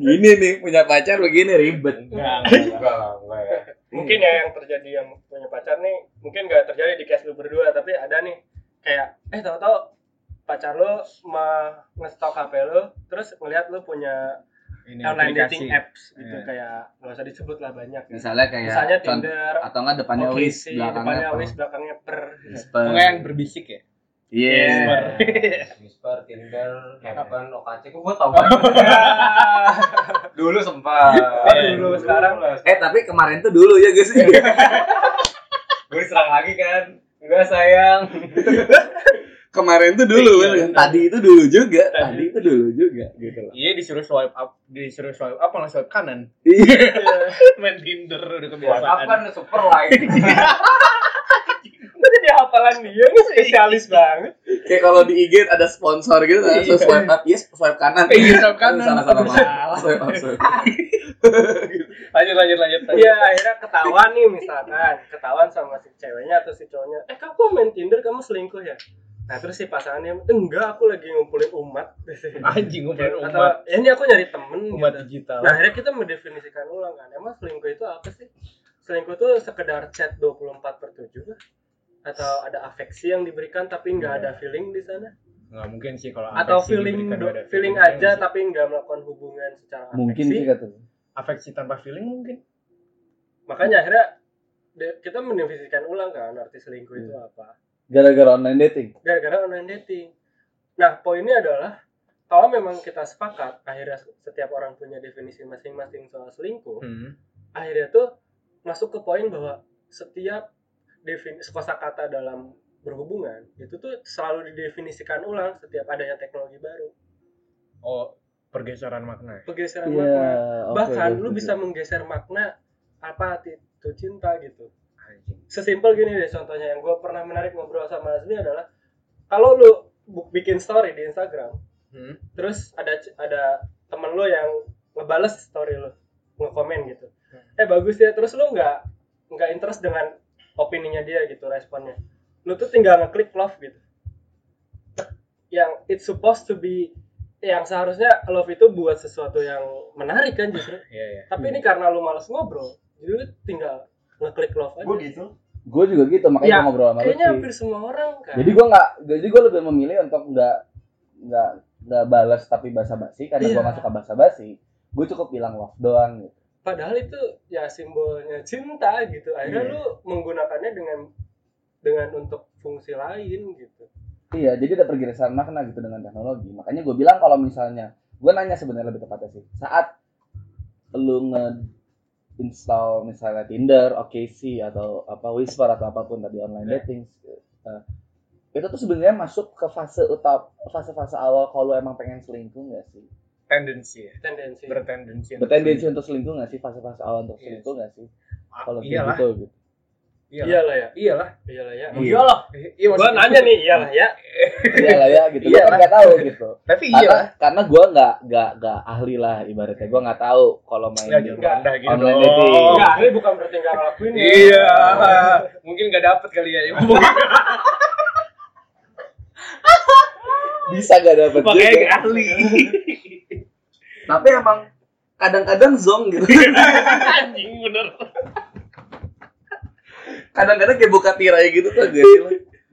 S4: gini nih punya pacar begini ribet
S3: Enggak, enggak, enggak, enggak ya.
S1: mungkin ya yang terjadi yang punya pacar nih mungkin nggak terjadi di case lu berdua tapi ada nih kayak eh tahu-tahu pacar lo mah ngestok hp lo terus ngelihat lo punya online dating apps gitu
S5: Iya.
S1: kayak nggak usah disebut lah banyak ya.
S4: misalnya kayak
S1: misalnya
S4: con-
S1: Tinder,
S4: atau enggak depannya wis
S1: OkCupid, depannya
S4: belakangnya
S1: wis, belakangnya per.
S4: Whisper.
S5: Enggak yang berbisik ya?
S4: Iya.
S1: Whisper.
S3: Whisper, Tinder, Happen, OKC, kok gua tau banget. Dulu sempat.
S1: Eh, dulu, sekarang.
S4: eh tapi kemarin tuh dulu ya guys
S3: Gue diserang lagi kan. Enggak sayang.
S4: kemarin tuh dulu
S5: Iya,
S4: Wil, kan?
S5: bener.
S4: tadi itu dulu juga
S1: Tadi.
S4: tadi itu dulu juga gitu loh
S5: Iya disuruh swipe up, disuruh swipe up malah swipe kanan.
S4: Iya.
S5: Main Tinder udah kebiasaan.
S3: WhatsApp kan super like
S5: Iya.
S1: Itu dia hafalan dia, ini spesialis banget.
S4: kayak kalau di IG ada sponsor gitu kan so
S5: Iya.
S4: swipe up yes swipe kanan
S5: Iya, swipe kanan.
S4: salah salah
S5: Salah.
S4: maaf. swipe up swipe up.
S5: Lanjut lanjut lanjut. lanjut.
S1: Iya, akhirnya ketahuan nih misalkan, ketahuan sama si ceweknya atau si cowoknya. Eh, kamu main Tinder, kamu selingkuh ya? Nah, terus si pasangannya, enggak, aku lagi ngumpulin umat.
S5: Anjing ngumpulin
S1: Atau,
S5: umat.
S1: "Ya, ini aku nyari temen
S5: Umat
S1: gitu.
S5: digital.
S1: Nah, akhirnya kita mendefinisikan ulang kan. Emang selingkuh itu apa sih? Selingkuh itu sekedar chat 24 per 7 lah. Atau ada afeksi yang diberikan tapi nggak ada feeling di sana?
S5: Nggak mungkin sih kalau
S1: Atau
S5: Iya. afeksi
S1: feeling
S5: diberikan, nggak ada
S1: feeling
S5: nggak
S1: aja
S5: ada sih.
S1: tapi nggak melakukan hubungan secara afeksi?
S4: kata
S5: afeksi tanpa feeling mungkin.
S1: Makanya akhirnya de- kita mendefinisikan ulang kan arti selingkuh itu apa.
S4: gara-gara online dating
S1: Gara-gara online dating. Nah, poinnya adalah kalau memang kita sepakat akhirnya setiap orang punya definisi masing-masing soal selingkuh,
S5: Hmm.
S1: akhirnya tuh masuk ke poin bahwa setiap definisi kosakata dalam berhubungan itu tuh selalu didefinisikan ulang setiap adanya teknologi baru
S5: Oh, pergeseran makna.
S4: Iya,
S1: pergeseran
S2: Iya,
S1: makna Iya, bahkan lu bisa menggeser makna apa arti itu cinta gitu
S5: Anjing.
S1: sesimpel gini deh contohnya yang gue pernah menarik ngobrol sama Azmi adalah kalau lu bu- bikin story di Instagram
S5: Hmm.
S1: terus ada ada temen lu yang ngebales story lu ngekomen gitu
S5: Hmm.
S1: eh bagus ya terus lu nggak nggak interest dengan opininya dia gitu responnya lu tuh tinggal ngeklik love gitu yang it's supposed to be yang seharusnya love itu buat sesuatu yang menarik kan justru
S5: Iya iya.
S1: tapi ini karena lu males ngobrol jadi lu tinggal ngeklik love aja
S3: gue gitu
S2: gue juga gitu makanya
S1: Ya,
S2: gue ngobrol sama
S1: kayaknya
S2: Lutfi
S1: hampir semua orang kan
S2: jadi gue nggak jadi gue lebih memilih untuk nggak nggak nggak balas tapi basa-basi karena
S1: Iya.
S2: gue nggak suka basa-basi gue cukup bilang love doang gitu
S1: padahal itu ya simbolnya cinta gitu akhirnya
S5: Iya.
S1: lu menggunakannya dengan dengan untuk fungsi lain gitu
S2: iya jadi ada pergeseran makna gitu dengan teknologi makanya gue bilang kalau misalnya gue nanya sebenarnya lebih tepatnya sih saat lu nge install misalnya Tinder, OKC atau apa Whisper atau apapun tadi online
S5: Iya.
S2: dating eh, itu tuh sebenarnya masuk ke fase utap fase-fase awal kalau lu emang pengen selingkuh nggak sih
S5: Tendensi ya.
S1: tendensi
S5: Bertendensi. untuk
S2: bertendensi untuk selingkuh nggak sih fase-fase awal untuk
S5: Yes.
S2: selingkuh nggak sih
S5: feeling. Ah,
S2: kalau
S5: iyalah.
S2: gitu gitu
S5: Iyalah.
S1: iyalah ya
S5: Iyalah.
S1: iyalah ya
S4: Iya.
S3: lah
S5: Eh, Iya
S1: gua
S5: maksudnya-
S1: nanya nih iyalah ya
S2: iya lah ya gitu gue
S5: Iyalah.
S2: kan nggak tahu gitu
S5: Tapi
S2: karena
S5: iyalah. Ya,
S2: karena gue nggak nggak nggak ahli lah ibaratnya gue nggak tahu kalau main
S5: Ya
S2: di-
S5: jangan rendah gitu
S2: Online
S5: dong.
S2: dating.
S1: enggak ini bukan berarti nggak ngelakuin ya
S5: Iya. Mungkin nggak dapet kali ya.
S2: bisa gak dapet
S5: Makanya
S2: juga
S5: nggak ahli.
S4: tapi emang kadang-kadang zong gitu
S5: Anjing bener.
S4: kadang-kadang kayak buka tirai gitu tuh gak sih lu?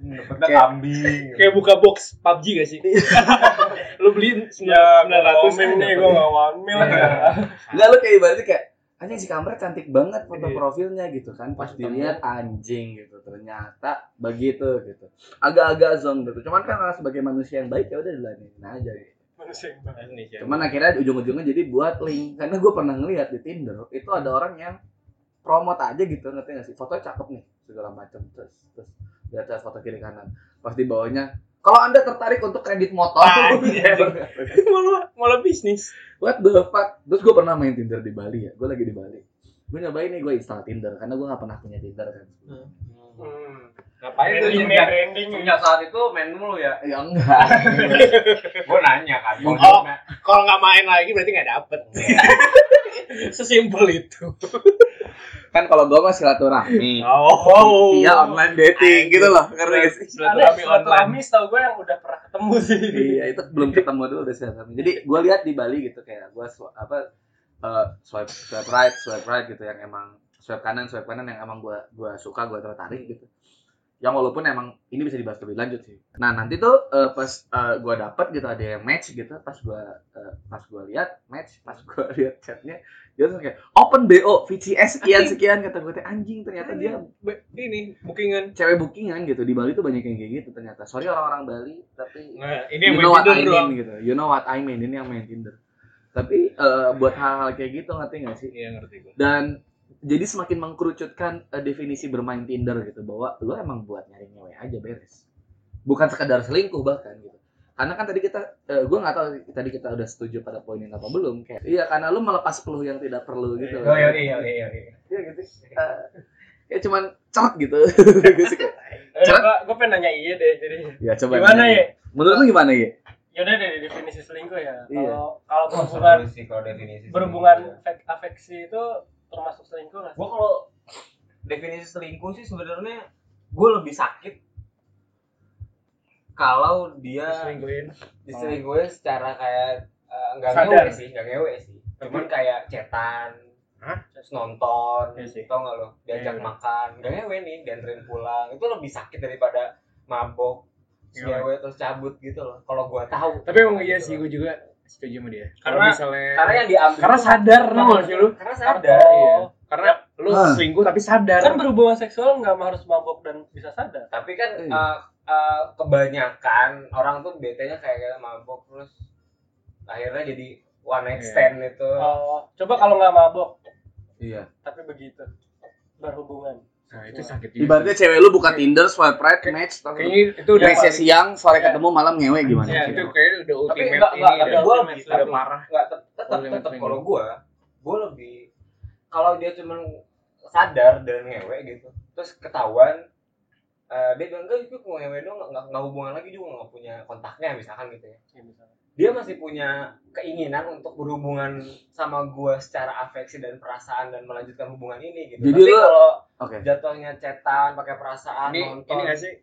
S3: udah kambing
S5: Kayak buka box PUBG gak sih? Lu beli
S1: ya
S5: 900
S1: ngomongin
S5: kan
S1: nih gua nggak wamil
S5: Iya.
S1: ya
S4: Enggak lu kayak ibaratnya kayak anjing si kamera cantik banget foto
S5: Iya.
S4: profilnya gitu kan pas
S5: Pas
S4: dilihat anjing gitu ternyata begitu gitu agak-agak zong gitu cuman kan karena sebagai manusia yang baik ya udah diladenin aja gitu.
S1: manusia yang banget
S5: Indonesia.
S4: cuman akhirnya ujung-ujungnya jadi buat link karena gue pernah ngelihat di Tinder itu ada orang yang promote aja gitu ngerti gak sih fotonya cakep nih segala macam terus terus di atas foto kiri kanan pas di bawahnya kalau anda tertarik untuk kredit motor
S5: Anjing. malah malah bisnis.
S4: What the fuck? Terus gue pernah main Tinder di Bali ya. Gue lagi di Bali. Gue nyobain nih gue install Tinder karena gue gak pernah punya Tinder kan.
S1: hmm.
S3: ngapain tuh
S1: Branding
S3: sejak
S1: ya, branding
S3: sejak saat itu main mulu ya
S4: Ya enggak.
S3: gue nanya kan
S4: Oh.
S3: Gua nanya.
S5: Kalau nggak main lagi berarti nggak dapet. Sesimpel itu.
S4: kan kalau gue mah silaturahmi.
S5: Oh.
S4: Iya online dating gitu loh. Ngerti gak sih?
S5: Silaturahmi online.
S1: Silaturahmi setahu gue yang udah pernah ketemu sih
S4: Iya itu belum ketemu dulu udah silaturahmi. Jadi gue lihat di Bali gitu kayak gue apa eh, swipe swipe right swipe right gitu yang emang swipe kanan swipe kanan yang emang gue gua suka gue tertarik gitu. Yang walaupun emang ini bisa dibahas lebih lanjut sih. Nah nanti tuh eh, pas eh, gua gue dapet gitu ada yang match gitu pas gue pas gue lihat match pas gue lihat chatnya dia tuh kayak open bo VCS sekian sekian kata gue anjing ternyata dia
S5: Be- ini bookingan.
S4: cewek bookingan gitu di Bali tuh banyak yang kayak gitu ternyata sorry orang-orang Bali tapi
S5: Nah, ini
S4: you
S5: yang main
S4: know what I
S5: Tinder doang.
S4: mean gitu you know what I mean ini yang main Tinder tapi eh, buat hal-hal kayak gitu ngerti nggak sih
S5: Iya ngerti gue.
S4: dan jadi semakin mengkerucutkan eh, definisi bermain Tinder gitu bahwa lu emang buat nyari nyewe aja beres bukan sekedar selingkuh bahkan gitu karena kan tadi kita eh, gue nggak tahu tadi kita udah setuju pada poin ini apa belum kayak iya karena lu melepas peluh yang tidak perlu gitu
S3: Oh iya iya iya iya.
S4: Iya gitu Eh, kayak cuman cerot gitu Ceret.
S1: Gue gue Eh, pengen nanya iya deh jadi
S4: ya coba
S1: gimana
S4: nanya.
S1: ya?
S4: menurut lu gimana ya
S1: Yaudah deh definisi selingkuh ya.
S4: Iya.
S1: Kalau kalau berhubungan
S3: Berhubungan sih kalau definisi.
S1: berhubungan fek- afeksi itu termasuk selingkuh nggak? sih?
S3: Gue kalau definisi selingkuh sih sebenarnya gue lebih sakit kalau dia
S5: Nah. diselingkuhin
S3: diselingkuhin secara kayak eh, nggak
S5: Sadar.
S3: ngewe sih, nggak ngewe sih. Cuman kayak cetan,
S5: Hah?
S3: terus nonton,
S5: Iya sih.
S3: tau nggak lo? Diajak
S5: Iya.
S3: makan, nggak ngewe nih, dianterin pulang. Itu lebih sakit daripada mabok, terus
S5: Iya.
S3: ngewe terus cabut gitu loh. Kalau gua tahu.
S5: tapi emang iya
S3: Gitu
S5: sih
S3: loh.
S5: gue juga setuju sama dia
S1: Karena-
S5: Kalau misalnya
S3: Karena yang diambil.
S5: karena sadar
S3: Karena-
S5: loh sih lu
S3: Karena sadar.
S1: Oh.
S5: iya. karena lu
S4: Ah.
S5: selingkuh tapi sadar
S1: Kan berhubungan seksual nggak harus mabok dan bisa sadar.
S3: Tapi kan
S4: Iya.
S3: eh, eh, kebanyakan orang tuh betanya kayak kayak mabok terus akhirnya jadi one night
S5: Iya.
S3: stand itu.
S1: Oh, coba kalau nggak mabok
S4: iya
S1: tapi begitu berhubungan.
S5: nah itu sakit
S1: Iya,
S5: juga
S4: ibaratnya cewek lu buka tinder swipe right match tapi
S5: kayaknya itu udah
S4: Biasanya siang sore
S1: gitu Iya.
S4: ketemu malam ngewe gimana
S5: ya,
S4: sih?
S5: itu kayak udah
S3: Tapi
S5: ultimate
S3: enggak, enggak,
S5: ini
S3: tapi
S5: dah.
S3: gue
S1: Ultimate
S3: lebih
S1: lah.
S5: udah parah
S3: nggak tet- tetap
S5: Boleh
S3: tetap
S5: main
S3: kalau gua gua lebih kalau dia cuman sadar dan ngewe gitu terus ketahuan eh, dia bilang enggak itu gua ngewe doang nggak- nggak nggak hubungan lagi juga nggak punya kontaknya misalkan gitu ya
S1: Ya, misalnya.
S3: dia masih punya keinginan untuk berhubungan sama gua secara afeksi dan perasaan dan melanjutkan hubungan ini gitu
S4: Jadi
S3: tapi
S4: lu-
S3: kalau
S4: Oke.
S3: jatuhnya cetan pakai perasaan
S5: ini
S3: nonton
S5: ini nggak sih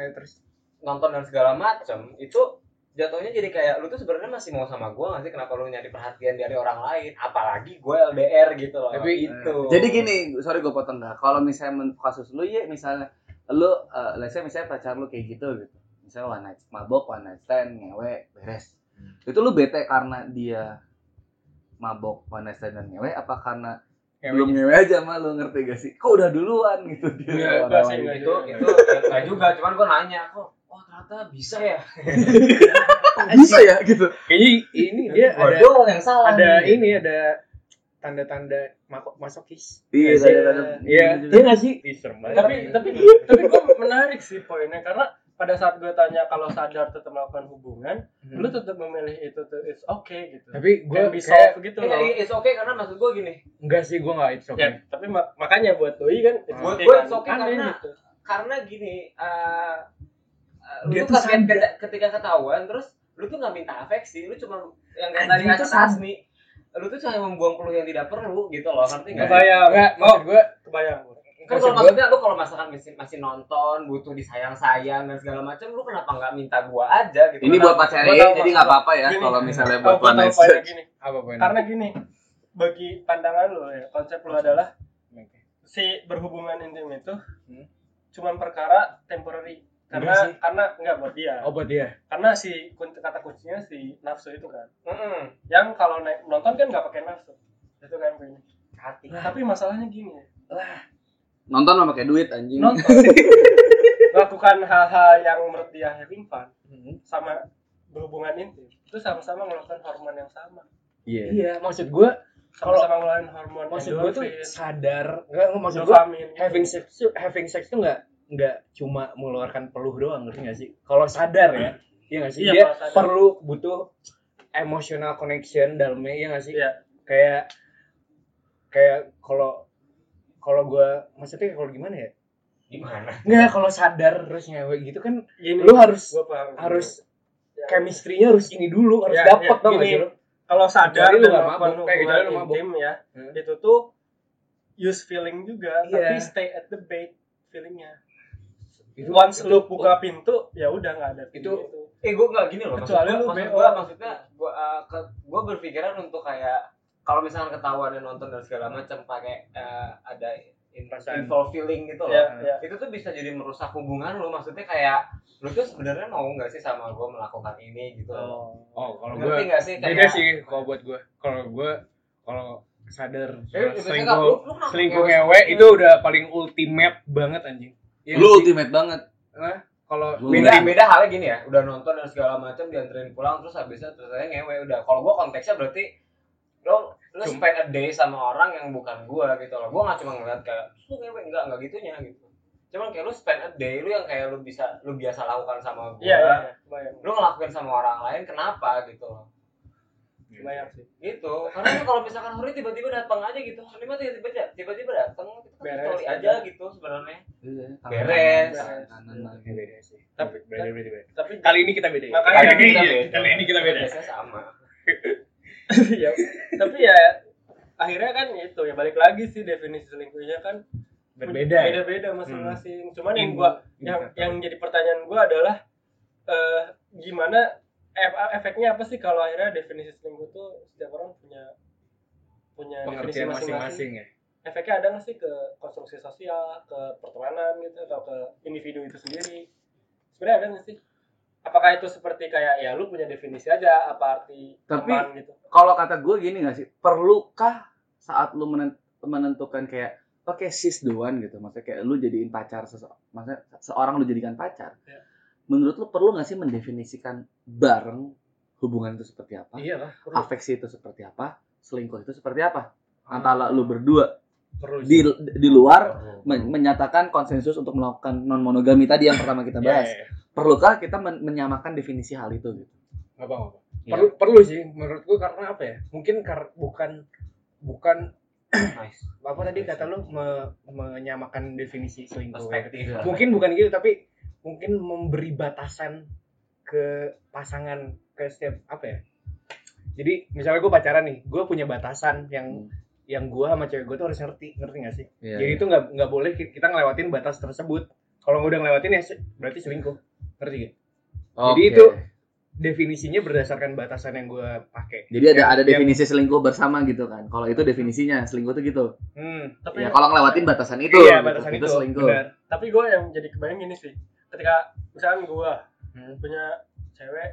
S5: eh, terus
S3: nonton dan segala macam itu jatuhnya jadi kayak lu tuh sebenarnya masih mau sama gue nggak sih kenapa lu nyari perhatian dari orang lain apalagi gue LDR gitu loh
S5: Tapi-
S3: itu
S4: Jadi gini, sorry gue potong dah. Kalau misalnya men- kasus lu ya misalnya lu eh, let's say misalnya pacar lu kayak gitu gitu. Misalnya one night mabok, one night stand, ngewe, beres.
S1: Hmm.
S4: Itu lu bete karena dia mabok, one night stand dan ngewe apa karena belum ngewe aja mah lu ngerti gak sih? Kok udah duluan gitu
S1: Iya,
S4: dia. sama orang
S1: enggak sih,
S4: lain.
S1: enggak.
S3: itu itu ya, nggak juga cuman gue nanya kok oh ternyata bisa ya
S4: Kok bisa ya gitu.
S5: kayaknya ini dia
S3: Gua
S5: Iya, ada
S3: doang yang salah
S5: ada
S1: Iya.
S3: nih.
S5: ini ada tanda-tanda mako- masokis
S4: Iya,
S5: Nggak sih?
S4: ada- ada-
S5: iya
S4: juga.
S5: iya nggak sih Ih, serem
S1: Tapi
S5: banget
S1: tapi tapi gue menarik sih poinnya karena pada saat gue tanya kalau sadar tetap melakukan hubungan,
S5: Hmm.
S1: lu tetap memilih itu tuh it's okay gitu.
S5: tapi gue
S1: Can be
S5: kayak
S1: solved gitu
S3: Iya,
S1: loh.
S3: iya, it's okay karena maksud gue gini
S5: enggak sih gue nggak it's okay
S1: Ya, tapi mak- makanya buat doi kan it's
S3: Buat
S1: okay
S3: gue
S1: kan.
S3: it's okay
S1: Aneh
S3: karena-
S1: gitu.
S3: karena gini eh eh, lu
S5: Dia
S3: tuh
S5: tuh
S3: kaget
S5: sadar.
S3: keta- ketika ketahuan terus lu tuh nggak minta afeksi lu cuma yang kayak tadi
S5: Anjing,
S3: kata
S5: tuh sad-
S3: Tasmi lu tuh cuma membuang peluh yang tidak perlu gitu loh ngerti nggak sih?
S1: Kebayang.
S5: enggak
S1: Oh,
S5: maksud gue
S1: kebayang. gua.
S3: kan
S5: Maksud
S3: kalau
S5: gua-
S3: maksudnya lu kalau masakan masih, masih nonton butuh disayang sayang dan segala macam lu kenapa nggak minta gua aja gitu
S4: Ini buat pacarnya
S1: Gua tahu
S4: jadi nggak
S1: maksud
S4: apa-apa ya
S1: Gini.
S4: kalau misalnya
S1: Oh,
S4: buat
S1: gua
S4: one
S1: tahu
S4: night
S1: poinnya
S4: stand.
S1: gini.
S5: apa poin
S1: Karena gini, bagi pandangan lu ya, konsep lu adalah si berhubungan intim itu
S5: Hmm.
S1: cuman perkara temporary. Karena
S5: Enggak sih.
S1: karena enggak buat dia.
S5: oh buat dia
S1: Karena si kun- kata kuncinya si nafsu itu kan.
S3: Mm-mm.
S1: Yang kalau naik nonton kan nggak pakai nafsu. Itu kan poinnya.
S3: hati
S1: Tapi masalahnya gini, ya.
S4: Nonton sama pakai duit anjing.
S1: nonton lakukan hal-hal yang menurut dia having fun sama berhubungan intim itu sama-sama ngeluarkan hormon yang sama
S4: Iya.
S5: iya maksud gue
S1: sama-sama ngeluarin hormon
S5: maksud gue tuh
S1: endorfin,
S5: sadar enggak maksud gue
S1: dopamin
S5: having sex tuh- having sex tuh nggak nggak cuma mengeluarkan peluh doang ngerti nggak sih kalau sadar ya iya nggak sih
S1: Iya,
S5: dia
S1: kalau sadar.
S5: perlu butuh emotional connection dalamnya iya nggak sih
S1: Iya.
S5: kayak kayak kalau kalau gue maksudnya kalau gimana ya
S3: gimana
S5: nggak kalau sadar terus ngewe gitu kan
S1: Gini,
S5: lu harus
S1: gua paham.
S5: harus
S1: Ya.
S5: chemistry-nya harus ini dulu harus
S1: Ya, ya,
S5: dapet dong gak
S1: gini.
S5: sih lu?
S1: kalau sadar
S5: Kecuali lu
S1: dan
S5: nggak
S1: melakukan
S5: mabuk, kayak kecuali
S1: hubungan
S5: lu mabuk.
S1: intim ya
S5: Hmm.
S1: itu tuh use feeling juga
S5: Iya.
S1: tapi stay at the bait feelingnya
S5: Itu-
S1: once
S5: itu-
S1: lu buka pintu ya udah nggak ada
S5: Itu-
S1: feeling
S3: eh gua nggak gini loh maksud
S1: Kecuali
S3: gua,
S1: lu
S3: maksud
S1: BO.
S3: gua maksudnya gua eh, ke- gua berpikiran untuk kayak kalau misalkan ketahuan dan nonton dan segala macam pakai eh, ada in-
S5: Perasaan.
S3: involved feeling gitu loh
S1: ya, ya.
S3: itu tuh bisa jadi merusak hubungan lu maksudnya kayak lu tuh sebenarnya mau nggak sih sama gua melakukan ini gitu loh
S5: oh kalau gue
S3: ngerti nggak sih
S5: beda sih kalau buat gue kalau gue kalau sadar
S3: Eh,
S5: selingkuh
S3: lu- lu kenapa
S5: selingkuh
S3: ngewe?
S5: ngewe itu udah paling ultimate banget anjing. Iya
S4: Lu
S5: nggak sih?
S4: ultimate banget.
S5: Hah? kalau
S4: Lu
S3: beda
S4: Mungkin.
S3: beda halnya gini ya udah nonton dan segala macam dianterin pulang terus habisnya terus saya ngewe udah kalau gua konteksnya berarti lo lo
S5: Cuma-
S3: spend a day sama orang yang bukan gua gitu loh gua nggak cuma ngeliat kayak lu ngewe enggak enggak gitunya gitu cuman kayak lu spend a day lu yang kayak lu bisa lu biasa lakukan sama gue
S1: Iya, iya, kebayang.
S3: lu ngelakuin sama orang lain kenapa gitu loh
S1: Kebayang sih.
S3: gitu karena kan kalau misalkan Huri tiba-tiba datang aja gitu Huri mah tiba-tiba tiba-tiba datang kita
S1: Beres,
S3: kecuali
S1: beres.
S3: aja gitu sebenarnya
S5: Iya,
S4: Beres.
S3: Beres.
S4: Kanan lagi.
S5: beda sih. Tapi beda beda beda.
S1: Tapi
S5: Kali ini kita beda. ya?
S1: Makanya
S5: kali ini,
S1: kita
S5: iya,
S3: beda.
S5: kali ini kita beda.
S3: biasanya sama
S1: ya, tapi ya akhirnya kan itu ya balik lagi sih definisi selingkuhnya kan
S5: Berbeda. ya? Hmm.
S1: beda-beda masing-masing. Cuman yang gua yang yang jadi pertanyaan gua adalah eh gimana ef- efeknya apa sih kalau akhirnya definisi selingkuh tuh setiap orang punya punya definisi
S5: pengertian
S1: masing-masing.
S5: masing-masing ya.
S1: Efeknya ada nggak sih ke konstruksi sosial, ke pertemanan gitu atau ke individu itu sendiri? Sebenarnya ada nggak sih? Apakah itu seperti kayak ya lu punya definisi aja apa arti
S4: Tapi-
S1: teman gitu?
S4: Kalau kata gue gini gak sih? Perlukah saat lu menen- menentukan kayak oke sis the one gitu maksudnya kayak lu jadiin pacar sese- maksudnya seorang lu jadikan pacar
S1: Iya.
S4: menurut lu perlu gak sih mendefinisikan bareng hubungan itu seperti apa
S5: Iya lah. Perlu.
S4: afeksi itu seperti apa selingkuh itu seperti apa
S5: Ah.
S4: antara lu berdua
S5: perlu sih. Iya,
S4: di di luar men- menyatakan konsensus untuk melakukan non monogami tadi yang pertama kita
S5: Iya,
S4: bahas
S5: iya, iya.
S4: perlukah kita men- menyamakan definisi hal itu gitu
S5: Nggak apa-apa.
S4: Iya.
S5: Perlu perlu sih menurut gua karena apa ya? Mungkin kar bukan bukan
S3: nice
S5: apa tadi kata lu me- menyamakan definisi selingkuh. ya.
S3: perspektif
S5: Mungkin bukan gitu tapi mungkin memberi batasan ke pasangan ke setiap apa ya? Jadi misalnya gue pacaran nih, gue punya batasan yang
S4: Hmm.
S5: yang gue sama cewek gue tuh harus ngerti, ngerti gak sih?
S4: Iya,
S5: Jadi itu nggak nggak boleh ki- kita ngelewatin batas tersebut. Kalau udah ngelewatin ya se- berarti selingkuh. Ngerti gak? jadi
S4: Oke.
S5: itu- Definisinya berdasarkan batasan yang gue pakai.
S4: jadi ada ada
S5: Yang-
S4: definisi selingkuh bersama gitu kan kalau itu definisinya selingkuh tuh gitu
S5: Hmm.
S1: Tapi
S4: ya kalau ngelewatin batasan itu
S5: iya,
S4: gitu,
S5: batasan itu.
S4: selingkuh
S5: benar.
S1: tapi gue yang jadi kebayang gini sih ketika misalkan gue
S5: Hmm.
S1: punya cewek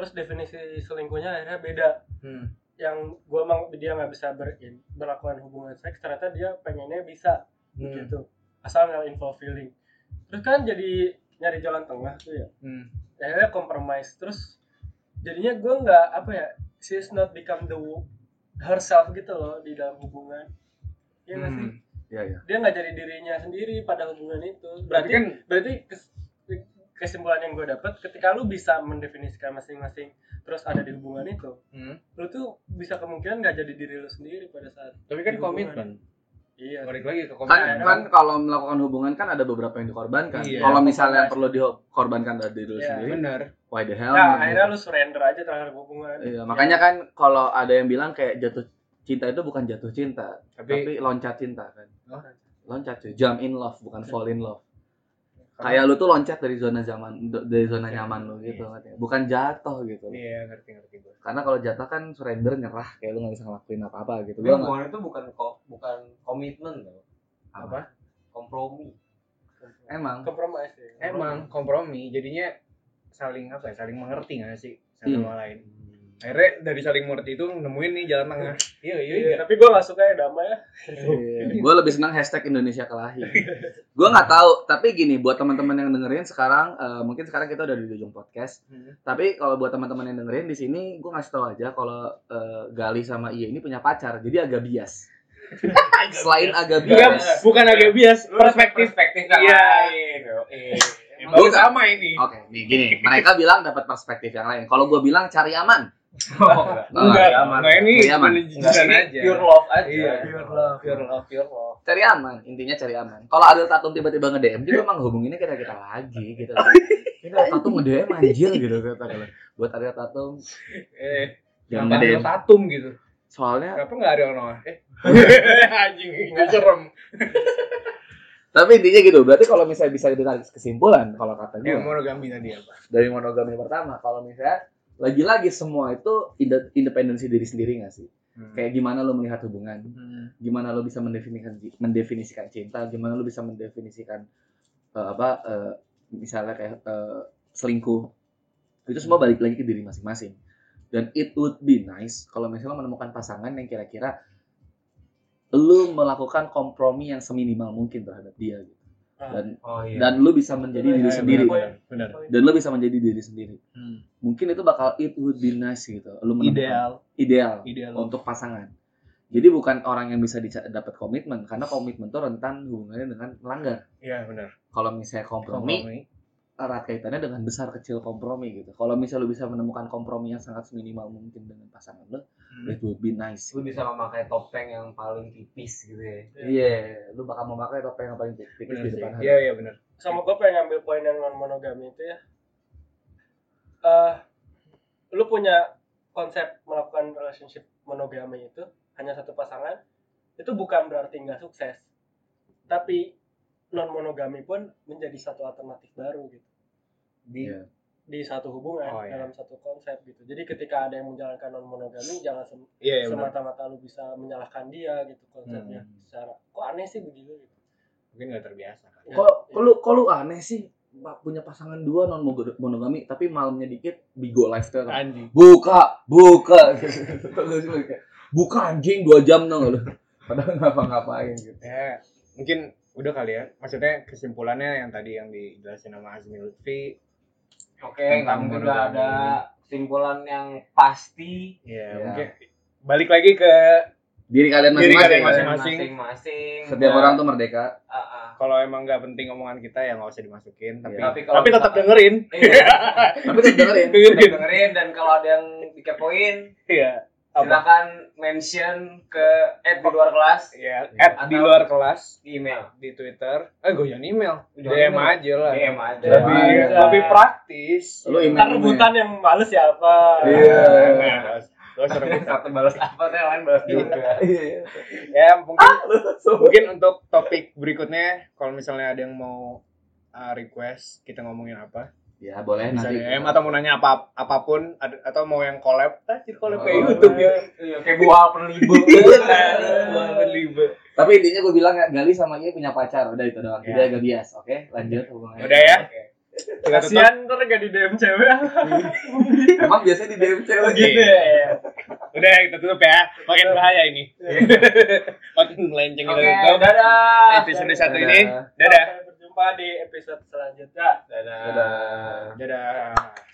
S1: terus definisi selingkuhnya akhirnya beda
S5: Hmm.
S1: yang gue emang dia nggak bisa ber, ya, berlakukan hubungan seks ternyata dia pengennya bisa
S5: Hmm.
S1: gitu asal nggak involve feeling terus kan jadi nyari jalan tengah tuh ya
S5: Hmm.
S1: akhirnya compromise terus jadinya gue nggak apa ya she's not become the wo- herself gitu loh di dalam hubungan ya nggak sih
S5: Hmm.
S4: Iya, iya.
S1: dia nggak jadi dirinya sendiri pada hubungan itu
S5: Berarti
S1: berarti
S5: kan
S1: berarti kes- kesimpulan yang gue dapat ketika lu bisa mendefinisikan masing-masing terus ada di hubungan itu
S5: Hmm.
S1: lu tuh bisa kemungkinan nggak jadi diri lu sendiri pada saat
S5: tapi kan
S1: Hubungan.
S5: komitmen.
S1: iya
S5: Balik lagi ke
S4: kan
S5: komitmen.
S4: kan kalau melakukan hubungan kan ada beberapa yang dikorbankan
S5: Iya.
S4: kalau misalnya perlu dikorbankan dari diri lu
S1: Iya.
S4: sendiri
S5: Benar. Ya,
S4: why the hell
S1: nah
S4: gitu.
S1: akhirnya lu surrender aja terhadap hubungan
S4: Iya, makanya kan kalau ada yang bilang kayak jatuh cinta itu bukan jatuh cinta,
S5: Tapi,
S4: tapi, loncat cinta kan.
S5: Oh.
S4: Loncat cuy, jump in love bukan fall in love. Kayak lu tuh loncat dari zona zaman dari zona
S5: Iya.
S4: nyaman lu gitu,
S5: Iya.
S4: ngerti nggak? bukan jatuh gitu.
S5: Iya, ngerti ngerti gue.
S4: Karena kalau jatuh kan surrender nyerah kayak lu nggak bisa ngelakuin apa-apa gitu.
S3: Tapi
S5: Iya,
S4: Gua nggak-
S3: hubungan itu bukan ko- bukan komitmen loh
S5: Apa?
S3: kompromi
S4: emang
S1: kompromi sih
S5: Emang kompromi jadinya saling apa ya? Saling mengerti nggak sih satu
S4: Iya.
S5: sama lain. Akhirnya dari saling mengerti itu nemuin nih jalan tengah. Iya, iya, iya.
S1: Iya, tapi gue gak suka ya damai ya
S4: gue Iya. lebih senang hashtag Indonesia kelahi. gue nggak tahu, tapi gini buat teman-teman yang dengerin sekarang, eh, mungkin sekarang kita udah di ujung podcast.
S5: Hmm.
S4: Tapi kalau buat teman-teman yang dengerin di sini, gue ngasih tahu aja kalau eh, Gali sama Iya ini punya pacar, jadi agak bias. Selain agak
S5: Bukan,
S4: bias,
S5: Iya, bukan agak bias,
S3: Lu harus
S5: perspektif.
S3: perspektif yang
S5: Iya.
S3: lain yo eh
S5: Ya,
S3: Emang
S5: baru
S4: Bukan.
S5: sama ini.
S4: oke, nih gini, mereka bilang dapat perspektif yang lain. Kalau gue bilang cari aman, Oh,
S5: Enggak,
S4: iya, aman.
S5: enggak ini
S4: Iya, aman.
S5: religiusan aja.
S3: pure love aja
S5: Iya.
S3: pure love pure love pure love
S4: cari aman, intinya cari aman. Kalau Adel Tatum tiba-tiba nge DM, dia emang hubunginnya kita kita lagi gitu. Kita Tatum nge DM anjir gitu kata kalau buat Adel Tatum
S5: Eh,
S4: jangan
S5: kenapa
S4: nge DM.
S5: ada tatum gitu?
S4: Soalnya
S5: Kenapa enggak ada Noah? Eh. Anjing, itu serem.
S4: Tapi intinya gitu, berarti kalau misalnya bisa ditarik kesimpulan kalau kata gue
S5: Yang monogami tadi apa?
S4: dari monogami pertama, kalau misalnya lagi-lagi semua itu inde- independensi diri sendiri nggak sih? Kayak gimana lo melihat hubungan,
S5: Hmm.
S4: gimana lo bisa mendefinisikan mendefinisikan cinta, gimana lo bisa mendefinisikan eh, apa eh, misalnya kayak eh, selingkuh. Itu semua balik lagi ke diri masing-masing. Dan it would be nice kalau misalnya lo menemukan pasangan yang kira-kira lo melakukan kompromi yang seminimal mungkin terhadap dia gitu. Dan
S3: oh iya
S4: dan lu bisa menjadi
S1: Iya,
S4: diri
S1: iya,
S4: sendiri
S1: benar.
S5: Benar.
S4: dan lu bisa menjadi diri sendiri
S5: Hmm.
S4: mungkin itu bakal it would be nice gitu lu menemukan
S5: Ideal,
S4: ideal
S5: ideal.
S4: untuk pasangan Jadi bukan orang yang bisa dica- dapat komitmen karena komitmen itu rentan hubungannya dengan melanggar.
S5: Iya benar.
S4: Kalau misalnya kompromi, erat kaitannya dengan besar kecil kompromi gitu. Kalau misalnya lu bisa menemukan kompromi yang sangat minimal mungkin dengan pasangan lu,
S5: Hmm.
S4: it Hmm. would be nice.
S3: Lu bisa memakai topeng yang paling tipis gitu ya.
S4: Iya, lu bakal memakai topeng yang paling tipis di
S5: Benar sih.
S4: depan hari.
S5: Iya iya benar.
S1: sama gue pengen ngambil poin yang non monogami itu ya Eh, lu punya konsep melakukan relationship monogami itu hanya satu pasangan itu bukan berarti nggak sukses tapi non monogami pun menjadi satu alternatif baru gitu di
S4: Iya.
S1: di satu hubungan
S5: Oh, iya.
S1: dalam satu konsep gitu jadi ketika ada yang menjalankan non monogami jangan sem-
S5: Iya iya benar. Hmm.
S1: semata-mata lu bisa menyalahkan dia gitu konsepnya secara kok aneh sih begini gitu
S5: Mungkin nggak terbiasa. kan.
S1: Ya,
S4: Kok kok lu kok lu aneh sih Pak, punya pasangan dua non monogami tapi malamnya dikit bigo live tuh
S5: Anjing.
S4: buka buka gitu. Tau gak sih, lu kayak, buka anjing dua jam dong lu padahal ngapa-ngapain gitu
S5: ya mungkin udah kali ya maksudnya kesimpulannya yang tadi yang dijelasin sama Azmi Lutfi
S3: Oke, nggak
S5: Tentang
S3: mungkin
S5: monogami.
S3: nggak ada kesimpulan yang pasti
S5: ya
S4: Ya.
S5: mungkin balik lagi ke
S4: diri kalian
S5: Diri
S4: masing-masing
S5: kalian
S4: ya.
S5: masing-masing.
S3: masing-masing.
S4: setiap
S3: Ya,
S4: orang tuh merdeka
S3: ah, ah.
S5: kalau emang nggak penting omongan kita ya nggak usah dimasukin tapi
S4: Ya.
S5: tapi,
S3: kalau
S5: tetap
S3: misalkan-
S5: dengerin
S3: Iya,
S4: tapi tetap dengerin
S3: tetap
S5: dengerin
S3: dengerin dan kalau ada yang dikepoin
S5: ya apa
S3: silakan mention ke at di luar kelas
S5: ya add di
S3: Atau-
S5: luar kelas
S3: di email
S5: di Twitter eh gue jangan email
S3: Jangan
S5: DM
S3: email.
S5: aja lah
S3: DM aja
S5: lebih
S4: Iya.
S5: lebih praktis
S4: lu
S1: Ntar
S4: email
S1: Kan rebutan yang males ya, siapa?
S4: Iya.
S5: Nah, nggak usah- nggak usah rebutan.
S3: satu balas apa teh lain balas juga
S4: Iya.
S5: ya mungkin mungkin untuk topik berikutnya kalau misalnya ada yang mau uh, request kita ngomongin apa
S4: ya boleh
S5: bisa eh,
S4: nanti
S5: DM atau mau nanya apa apapun ad- atau mau yang collab tajir collab kayak
S4: Oh,
S5: YouTube ya
S3: iya kayak buah perlibu
S4: tapi intinya gue bilang ya, Gali sama Iya punya pacar udah itu doang jadi
S5: Ya.
S4: agak bias oke lanjut hubungannya
S5: udah ya kita tutup
S1: Kasian ntar gak di DM cewek.
S4: emang biasanya di DM cewek
S5: Gitu ya. udah kita tutup ya makin bahaya ini makin melenceng kita
S3: Iya. oke
S5: tutup
S3: dadah
S5: episode satu ini dadah
S1: Sampai berjumpa di episode selanjutnya.
S3: dadah
S5: dadah